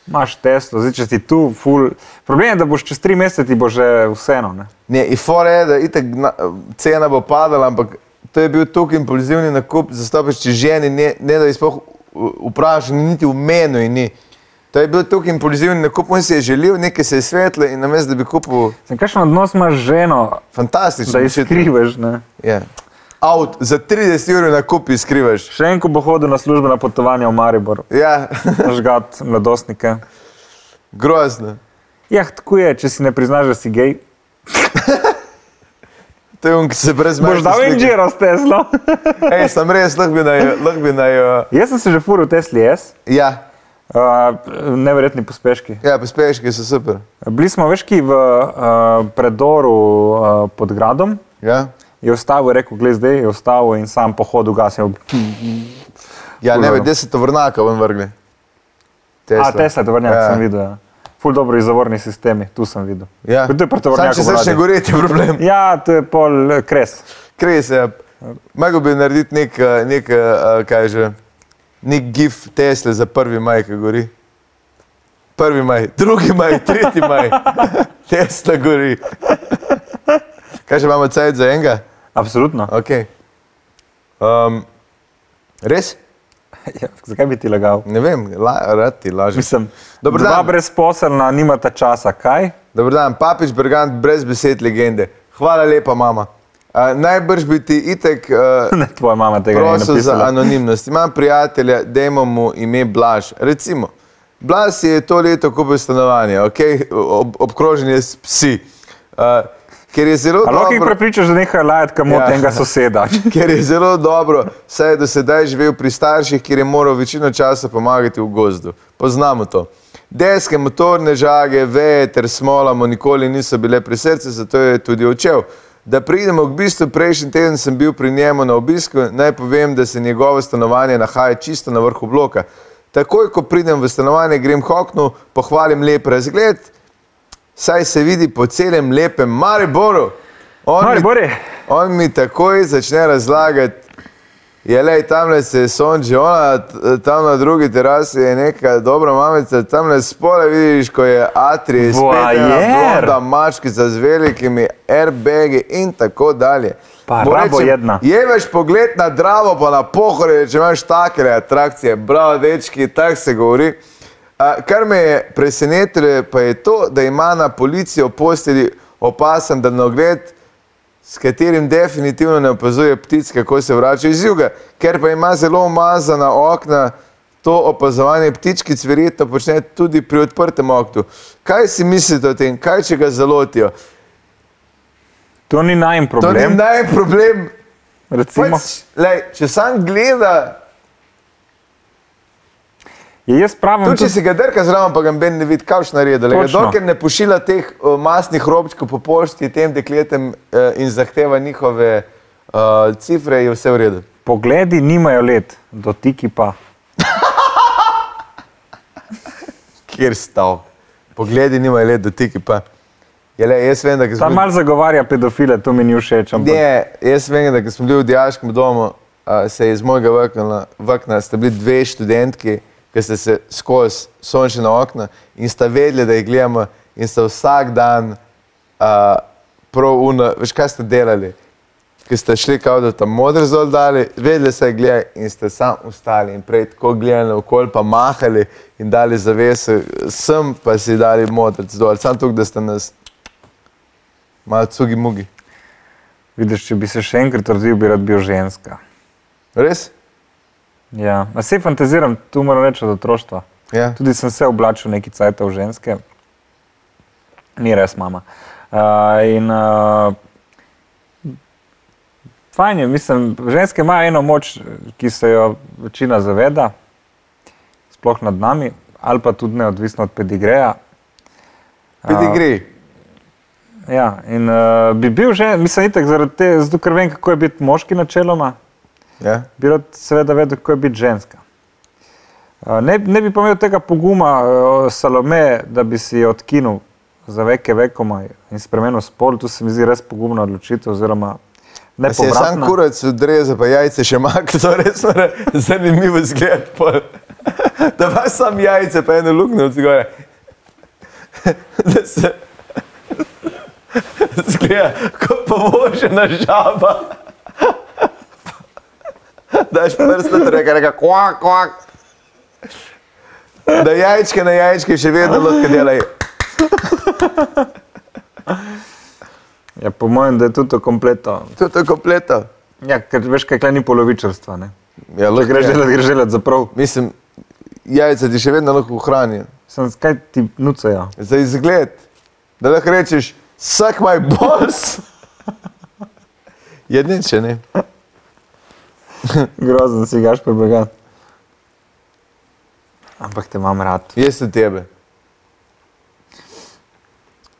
S2: imaš Teslo, zdaj če ti tu ful. Problem je, da boš čez tri mesece ti bo že vseeno. Ne?
S3: Ne, ifore je, da itak na, cena bo padala, ampak to je bil tukaj impulzivni nakup, zastopiš če ženi, ne, ne da jih sploh v- vprašaš, niti v menu in ni. To je bil tukaj impulzivni nakup, on si je želel, nekaj se je svetlo in namesto, da bi kupil
S2: Sem, kakšen odnos imaš z ženo, da
S3: fantastično.
S2: jih skrivaš? Ne?
S3: Ja. Avt za 30 ur na kupi skrivaš.
S2: Še en, ko bo hodil na službena potovanja v Maribor,
S3: Ja,
S2: žgat mladostnike.
S3: grozno.
S2: Ja, tako je, če si ne priznaš, da si gej.
S3: To je on, ki se brez
S2: Boš dal inžira s Teslo.
S3: Ej, sem res, lahko bi naj, lahko bi naj, uh,
S2: Jaz sem se že furil v Tesli S,
S3: ja,
S2: uh, neverjetni pospeški.
S3: ja, pospeški so super.
S2: Bili smo veški v uh, predoru uh, pod gradom,
S3: Ja,
S2: je ustavil, rekel, gledaj, zdaj je ustavil in sam pohod ugasil.
S3: ja ne
S2: Fulano.
S3: vem, deset vrnaka ven vrgli.
S2: A, Tesla, tovrnjak ja.
S3: Ja.
S2: sem videl. Ja. Ful dobro izvorni sistemi, tu sem videl.
S3: Ja.
S2: Kot da je pri
S3: Samo
S2: tovrnjaku
S3: če začne
S2: vladi.
S3: goreti, je problem.
S2: Ja, to je pol eh, kres.
S3: Kres je. Mogel bi narediti nek, eh, nek eh, eh, kaj že, nek gif Tesla za prvi maj, ki gori. Prvi maj, drugi maj, tretji maj. Tesla gori. Kaj že imamo cajt za enega?
S2: Absolutno.
S3: Okay. Um, res?
S2: Ja, zakaj bi ti lagal?
S3: Ne vem, la, rad ti lažem.
S2: Mislim,
S3: Dober
S2: dva
S3: dan.
S2: brezposelna nimata časa, kaj?
S3: Dobro dan, papič Bergant, brez besed legende. Hvala lepa, mama. Uh, najbrž bi ti itek uh,
S2: Ne, tvoja mama tega ne
S3: prosil za
S2: napisala.
S3: anonimnost. Imam prijatelja, da imamo mu ime Blaž. Recimo, Blaž si je to leto kupil stanovanje, okay? ob, obkrožen je s psi. Uh, ker je zelo
S2: Ali lahko jih
S3: dobro-
S2: prepričaš, da nehajo lajati kamot ja.
S3: Ja.
S2: enega soseda?
S3: Ker je zelo dobro, saj je do sedaj živel pri starših, kjer je moral večino časa pomagati v gozdu. Poznamo to. Deske, motorne žage, veje ter smola mu nikoli niso bile pri srcu, zato je tudi odšel. Da pridemo k bistvu, prejšnji teden sem bil pri njemu na obisku, naj povem, da se njegovo stanovanje nahaja čisto na vrhu bloka. Takoj, ko pridem v stanovanje, grem k oknu, pohvalim lep razgled, saj se vidi po celem lepem Mariboru. On mi-
S2: Maribor je.
S3: On mi takoj začne razlagati, je le tam se je sonče, ona t- tam na drugi terasi je neka dobra mamica, tam le spole vidiš, ko je Atrij, spet
S2: Voajer.
S3: blonda mačkica z velikimi airbagi in tako dalje.
S2: Pa
S3: Mu
S2: rabo
S3: rečem,
S2: jedna.
S3: Jeveš pogled na Dravo, pa na pohore, če imaš take atrakcije, bravo, dečki, tako se govori. A, kar me je presenetilo, pa je to, da ima na policijo posteli opasen daljnogled, s katerim definitivno ne opazuje ptic, kako se vračajo iz juga, ker pa ima zelo umazana okna. To opazovanje ptičkic verjetno počne tudi pri odprtem oknu. Kaj si mislite o tem, kaj če ga zalotijo?
S2: To ni najmanj
S3: To ni
S2: problem.
S3: najmanj problem,
S2: Recimo,
S3: Pač, lej, če sam gleda,
S2: je jaz pravim,
S3: tudi če si ga drka zraven, pa ga ben ne vidi, kaj še naredi. Lej,
S2: Točno.
S3: dokler ne pošilja teh o, masnih robčkov po pošti tem dekletem eh, in zahteva njihove eh, cifre, je vse v redu.
S2: pogledi nimajo let, dotiki pa.
S3: Kjer stav? Pogledi nimajo let dotiki, pa. Je, lej, jaz vem, da ko
S2: Ta
S3: smo bili-
S2: mal zagovarja pedofile, to mi ni všeč. ampak-
S3: Ne, jaz vem, da ko smo bili v dijaškem domu, a, se je iz mojega vrkna, vrkna sta bili dve študentki, ki sta se skozi sončna okna in sta vedeli, da jih gledamo in sta vsak dan a, prav uno, veš kaj ste delali. ki ste šli, kao da tam modri zol dali, vedeli ste, gledaj, in ste sam ustali in prej tako gledali okol, pa mahali in dali zavese, sem pa si dali modrc dol, sam tukaj, da ste nas malo cugi mugi.
S2: Vidiš, če bi se še enkrat rodil, bi rad bil ženska.
S3: Res?
S2: Ja, a se fantaziram, tu moram reči od otroštva.
S3: Ja.
S2: Tudi sem se oblačil neki cajt v ženske, ni res mama. Uh, in uh, fajn je, mislim, ženske imajo eno moč, ki se jo večina zaveda, sploh nad nami, ali pa tudi neodvisno od pedigreja.
S3: Pidigri.
S2: Ja, in uh, bi bil že, mislim, itek zaradi te, zato ker vem, kako je biti moški načeloma,
S3: Ja.
S2: bi rad seveda vedel, kako je biti ženska. Uh, Ne, ne bi pa imel tega poguma uh, Salome, da bi si jo odkinil za veke vekoma in spremenil spol, to se mi zdi res pogumna odločitev oziroma
S3: A Se je sam
S2: nepovratna.
S3: kurac odrezal, pa jajce še maknil, to je res mora zanimivo zgled. pol. Da pa sam jajce, pa eno luknjo zgore. Da se zgleda kot povožena žaba. Daš prst na trg, reka kvak, kvak. Da jajčke na jajčke še vedno lahko delajo.
S2: Ja, po mojem, da je tudi to kompletno.
S3: To je to kompleto.
S2: Ja, ker veš, kaj tukaj ni polovičarstva. Ne?
S3: Ja,
S2: Če greš delati, greš delati za prav.
S3: Mislim, jajca ti še vedno lahko ohranijo.
S2: Sem kaj ti ja. nucajo.
S3: za izgled, da lahko rečeš, suck my boss. Jedni če ne.
S2: Grozen si gaš prebegat. Ampak te imam rad.
S3: Jaz sem tebe.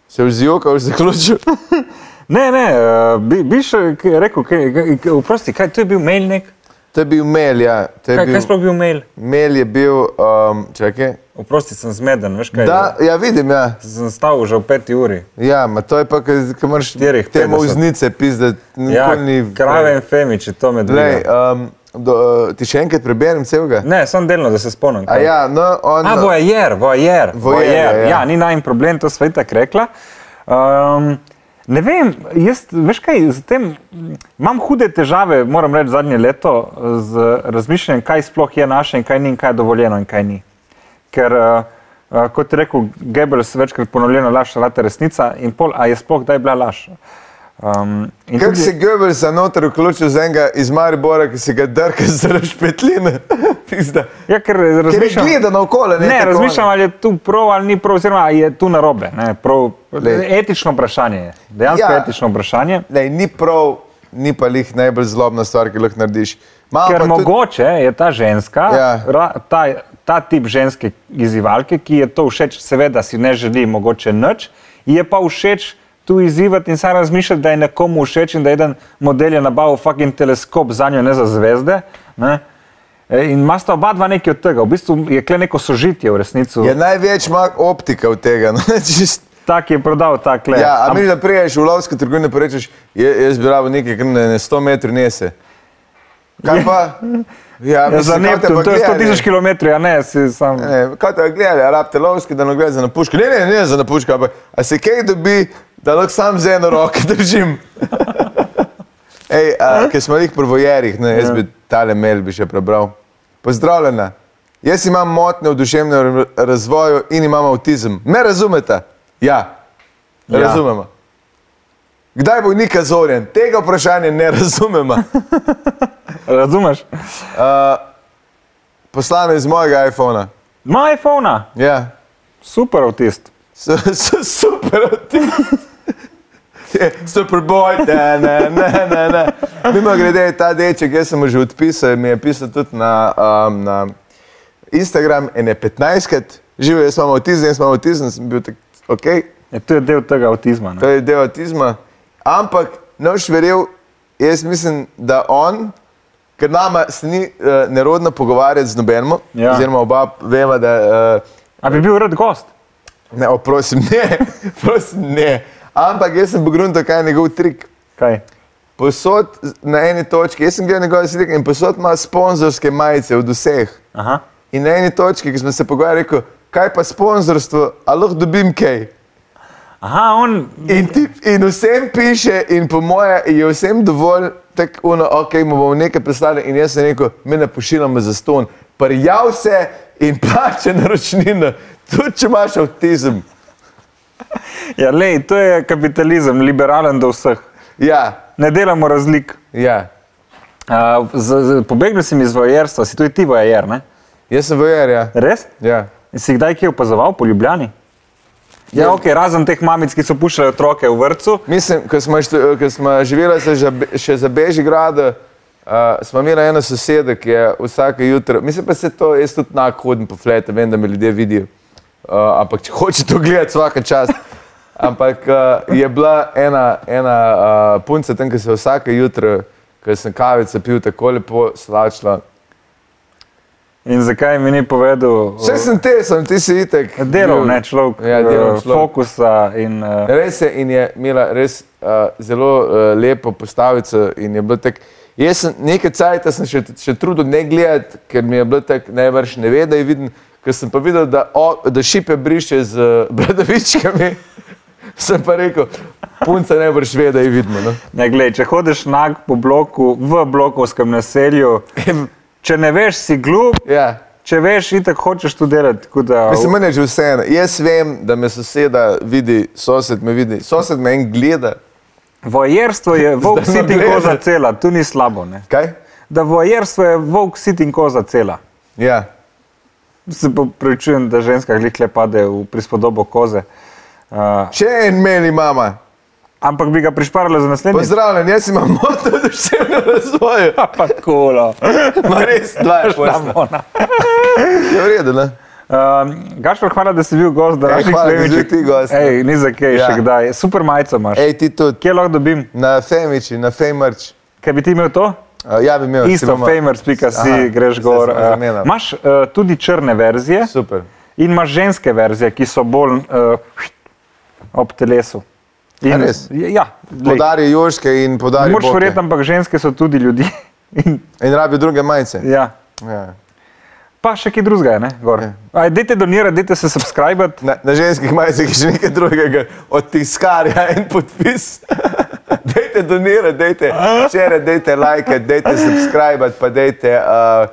S3: Se vzjoka, už zaključil.
S2: Ne, ne, eh, bi, bi še kaj rekel, kaj, kaj- kaj- vprosti, kaj, to je bil mail nek?
S3: To je bil mail, ja. To je
S2: Kaj,
S3: bil,
S2: kaj sploh bil mail?
S3: mail je bil, um, čakaj.
S2: Vprosti, sem zmeden, veš kaj?
S3: Da, ja, vidim, ja.
S2: Sem stal že ob peti uri.
S3: Ja, ma to je pa, ko moraš
S2: Štirih,
S3: temu
S2: 50.
S3: vznice pizdati.
S2: Ja,
S3: nikoli ni-
S2: krave in femiči, to me
S3: Glej,
S2: dve.
S3: um, do, ti še enkrat preberem celega?
S2: Ne, sem delno, da se spomnim.
S3: A
S2: kaj.
S3: ja, no, on...
S2: A, voajer, voajer.
S3: Voajer, ja.
S2: Ja, ni najmanj problem, to sva itak rekla. Um, ne vem, jaz, veš kaj, z tem mm, imam hude težave, moram reči zadnje leto, z razmišljanjem, kaj sploh je naše in kaj ni in kaj je dovoljeno in kaj ni. Ker, uh, uh, kot je rekel Goebbels, večkrat ponovljena laž, rata resnica in pol, a je sploh kdaj bila laž. Um, in
S3: Kako
S2: tudi-
S3: se Goebbels za noter vključil z enega iz Maribora, ki se ga drka zaradi špetline? Pizda.
S2: Ja, ker
S3: Ker je
S2: razmišljam,
S3: gleda naokoli.
S2: Ne,
S3: tako
S2: razmišljam, ali je tu prav ali ni prav, oziroma ali je tu narobe. Ne, prav,
S3: Glej.
S2: etično vprašanje je, dejansko
S3: Ja.
S2: ja. etično vprašanje.
S3: ono. Lej, ni prav, ni pa lih najbolj zlobna stvar, ki jo lahko narediš. Malo
S2: Ker
S3: pa tudi-
S2: mogoče je ta ženska,
S3: Ja.
S2: ra, ta, ta tip ženske izzivalke, ki je to všeč, seveda si ne želi, mogoče nič, ji je pa všeč tu izzivati in sam razmišljati, da je nekomu všeč in da je en model je nabavil fucking teleskop za njo, ne za zvezde. Ne. E, In imata oba dva nekaj od tega, v bistvu je kle neko sožitje v resnici.
S3: Je največ ima optika od tega. No, čist,
S2: Tak je prodal ta kle.
S3: ja, a
S2: Am-
S3: mi da priješ v lovsko trgovino in rečeš, "Je- jaz bi rabo nekaj, kar ne, ne 100 metrov nese. Kaj pa? Ja,
S2: Ja, za
S3: mislim, kaj te pa
S2: Neptun, to je 100
S3: gledali?
S2: tisoč km, a ne, si sam.
S3: Ne, kaj te gledali, arabte lovske, da ne gre za napuško. Ne, ne, ne za napuško, ampak a se kaj dobi, da lahko sam z eno roko držim. Ej, a, ker smo jih pri vojerjih, ne, jaz bi tale mail bi še prebral. Pozdravljena, jaz imam motnje v duševnem ra- razvoju in imam avtizem. Me razumete? Ja,
S2: Ja.
S3: razumemo. Kdaj bo Nika zorjen? Tega vprašanja ne razumemo.
S2: Razumeš?
S3: Poslano iz mojega iPhona.
S2: Ma iPhone,
S3: Ja.
S2: super avtist.
S3: So, so super avtist. Superboj, ne, ne, ne, ne, ne. Mimo grede, ta deček, jaz sem mu že odpisal, in mi je pisal tudi na, um, na Instagram, ene 15krat, živel jaz imam avtizem, jaz imam avtizem, sem bil tak, ok,
S2: E, to je del tega avtizma. ne.
S3: to je del avtizma. Ampak, noč verjel, jaz mislim, da on, ker nama se ni uh, nerodno pogovarjati z nobenim,
S2: Ja.
S3: oziroma oba veva, da uh,
S2: A bi bil rad gost?
S3: Ne, oprosim, ne, prosim, ne. Ampak jaz sem pogrunil, kaj je njegov trik.
S2: Kaj?
S3: Posod na eni točki, jaz sem gledal njegove slike in posod ima sponzorske majice od vseh.
S2: Aha.
S3: In na eni točki, ki smo se pogovarjali, je rekel, kaj pa sponzorstvo, ali lahko dobim kaj.
S2: Aha, on.
S3: In, ti, in vsem piše, in po moje je vsem dovolj, tako ono, ok, mu bomo nekaj poslali in jaz sem rekel, mi ne pošiljamo za ston. Prijav se in plače naročnino, tudi če imaš avtizem.
S2: Ja, lej, to je kapitalizem, liberalen do vseh.
S3: Ja,
S2: Ne delamo razlik.
S3: ja.
S2: Uh, z- z- Pobegnil sem iz vojerstva, si tudi ti vojer, ne?
S3: Jaz sem vojer, ja.
S2: Res?
S3: ja.
S2: Si kdaj kje opazoval po Ljubljani? Ja, ok, razen teh mamic, ki so puščale otroke v vrtu.
S3: Mislim, ko smo, štu- ko smo živeli se že, še za Bežigrad, uh, smo imeli eno sosedo, ki je vsake jutro, mislim pa se to, jaz tudi enako hodim po flete, vem, da me ljudje vidijo, uh, ampak če hoče to gledati, vsaka čast. Ampak uh, je bila ena, ena uh, punca tam, ki se je vsake jutro, ko sem kavico pil, tako lepo slačila.
S2: In zakaj mi ni povedal?
S3: Vse sem te, sem ti si itek.
S2: Delal
S3: bil-
S2: ne človek,
S3: Ja, delovni
S2: eh,
S3: človek.
S2: fokusa in uh,
S3: Res je in je imela res uh, zelo uh, lepo postavico in je bilo tako. Jaz sem nekaj cajt, sem še, še trudil ne gledati, ker mi je bilo tako najbrž ne ve, da je viden. Ker sem pa videl, da, o, da šipe briše z uh, bradavičkami, sem pa rekel, punca najbrž ve, da je vidno. No?
S2: ne glej, če hodiš nag po bloku, v blokovskem naselju, če ne veš, si glup,
S3: Ja.
S2: če veš, itak hočeš tu delati. tako Da,
S3: Mislim, meni je že vseeno. Jaz vem, da me soseda vidi, sosed me vidi, sosed me en gleda.
S2: vojerstvo je volk
S3: Zdaj
S2: sit in
S3: nagledaš.
S2: koza cela, tu ni slabo. Ne?
S3: Kaj?
S2: Da vojerstvo je volk sit in koza cela.
S3: Ja.
S2: Se pravičujem, da ženska glihtle pade v prispodobo koze. Uh,
S3: Še en meni mama.
S2: ampak bi ga prišparala za naslednji.
S3: Pozdravljen, jaz imam motno duševno razvoju.
S2: Pa no. kulo.
S3: Ma res, dva je pojasno. Je v redu, ne?
S2: Um, Gašpor, hvala, da si bil gost, da
S3: Ej,
S2: naših
S3: hvala, da si
S2: spremljaš.
S3: bil ti gost.
S2: Ej, ni za kaj ja.
S3: Ja.
S2: še kdaj. Super majico imaš. Ej.
S3: Ej, ti tudi.
S2: Kje lahko dobim?
S3: Na Femiči, na Femarč.
S2: Kaj bi ti imel to?
S3: Ja, bi imel. si
S2: Isto,
S3: bomo-
S2: famers.si
S3: Aha,
S2: greš
S3: se
S2: gor.
S3: sva
S2: eh,
S3: zamenjala.
S2: Imaš uh, tudi črne verzije
S3: Super.
S2: in imaš ženske verzije, ki so bolj uh, ob telesu.
S3: A res?
S2: ja, glej,
S3: Podari Joške in podari.
S2: moraš
S3: Boke.
S2: verjeti, ampak ženske so tudi ljudje. In,
S3: In rabi druge majice.
S2: ja.
S3: Ja.
S2: Pa še kaj drugega je, ne? Gor. Aj, dajte donirati, dajte se subskrbati.
S3: Na, na ženskih majicah je še nekaj drugega, od tiskarja en podpis. dejte donirati, dejte šere, dejte like, dejte subscribe, pa dejte uh,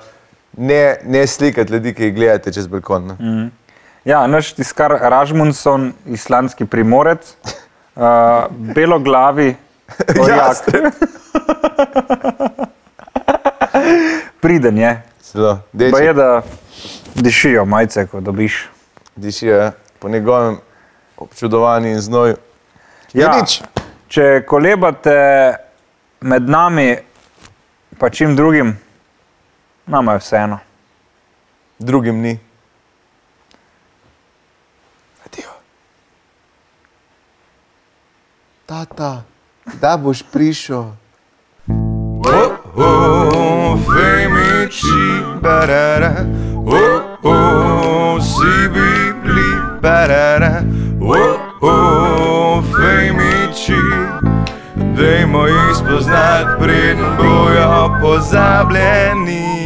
S3: ne, ne slikati ljudi, ki jih gledate čez balkon.
S2: Mm.
S3: no.
S2: Ja, naš tiskar Ražmundson, islandski primorec, uh, beloglavi, orjak.
S3: Jastreb.
S2: Priden je.
S3: Zelo.
S2: Pa
S3: Dejte,
S2: je, da dišijo majice, ko dobiš.
S3: dišijo po njegovem občudovanju in znoju. Ja, nič.
S2: Če kolebate med nami, pa čim drugim, nama je vseeno.
S3: Drugim ni. Adijo. Tata, da boš prišel.
S1: Oh, femici, barara. Oh, oh, sibi, bli, barara. Oh, oh, femici, dajmo jih spoznati, preden bojo pozabljeni.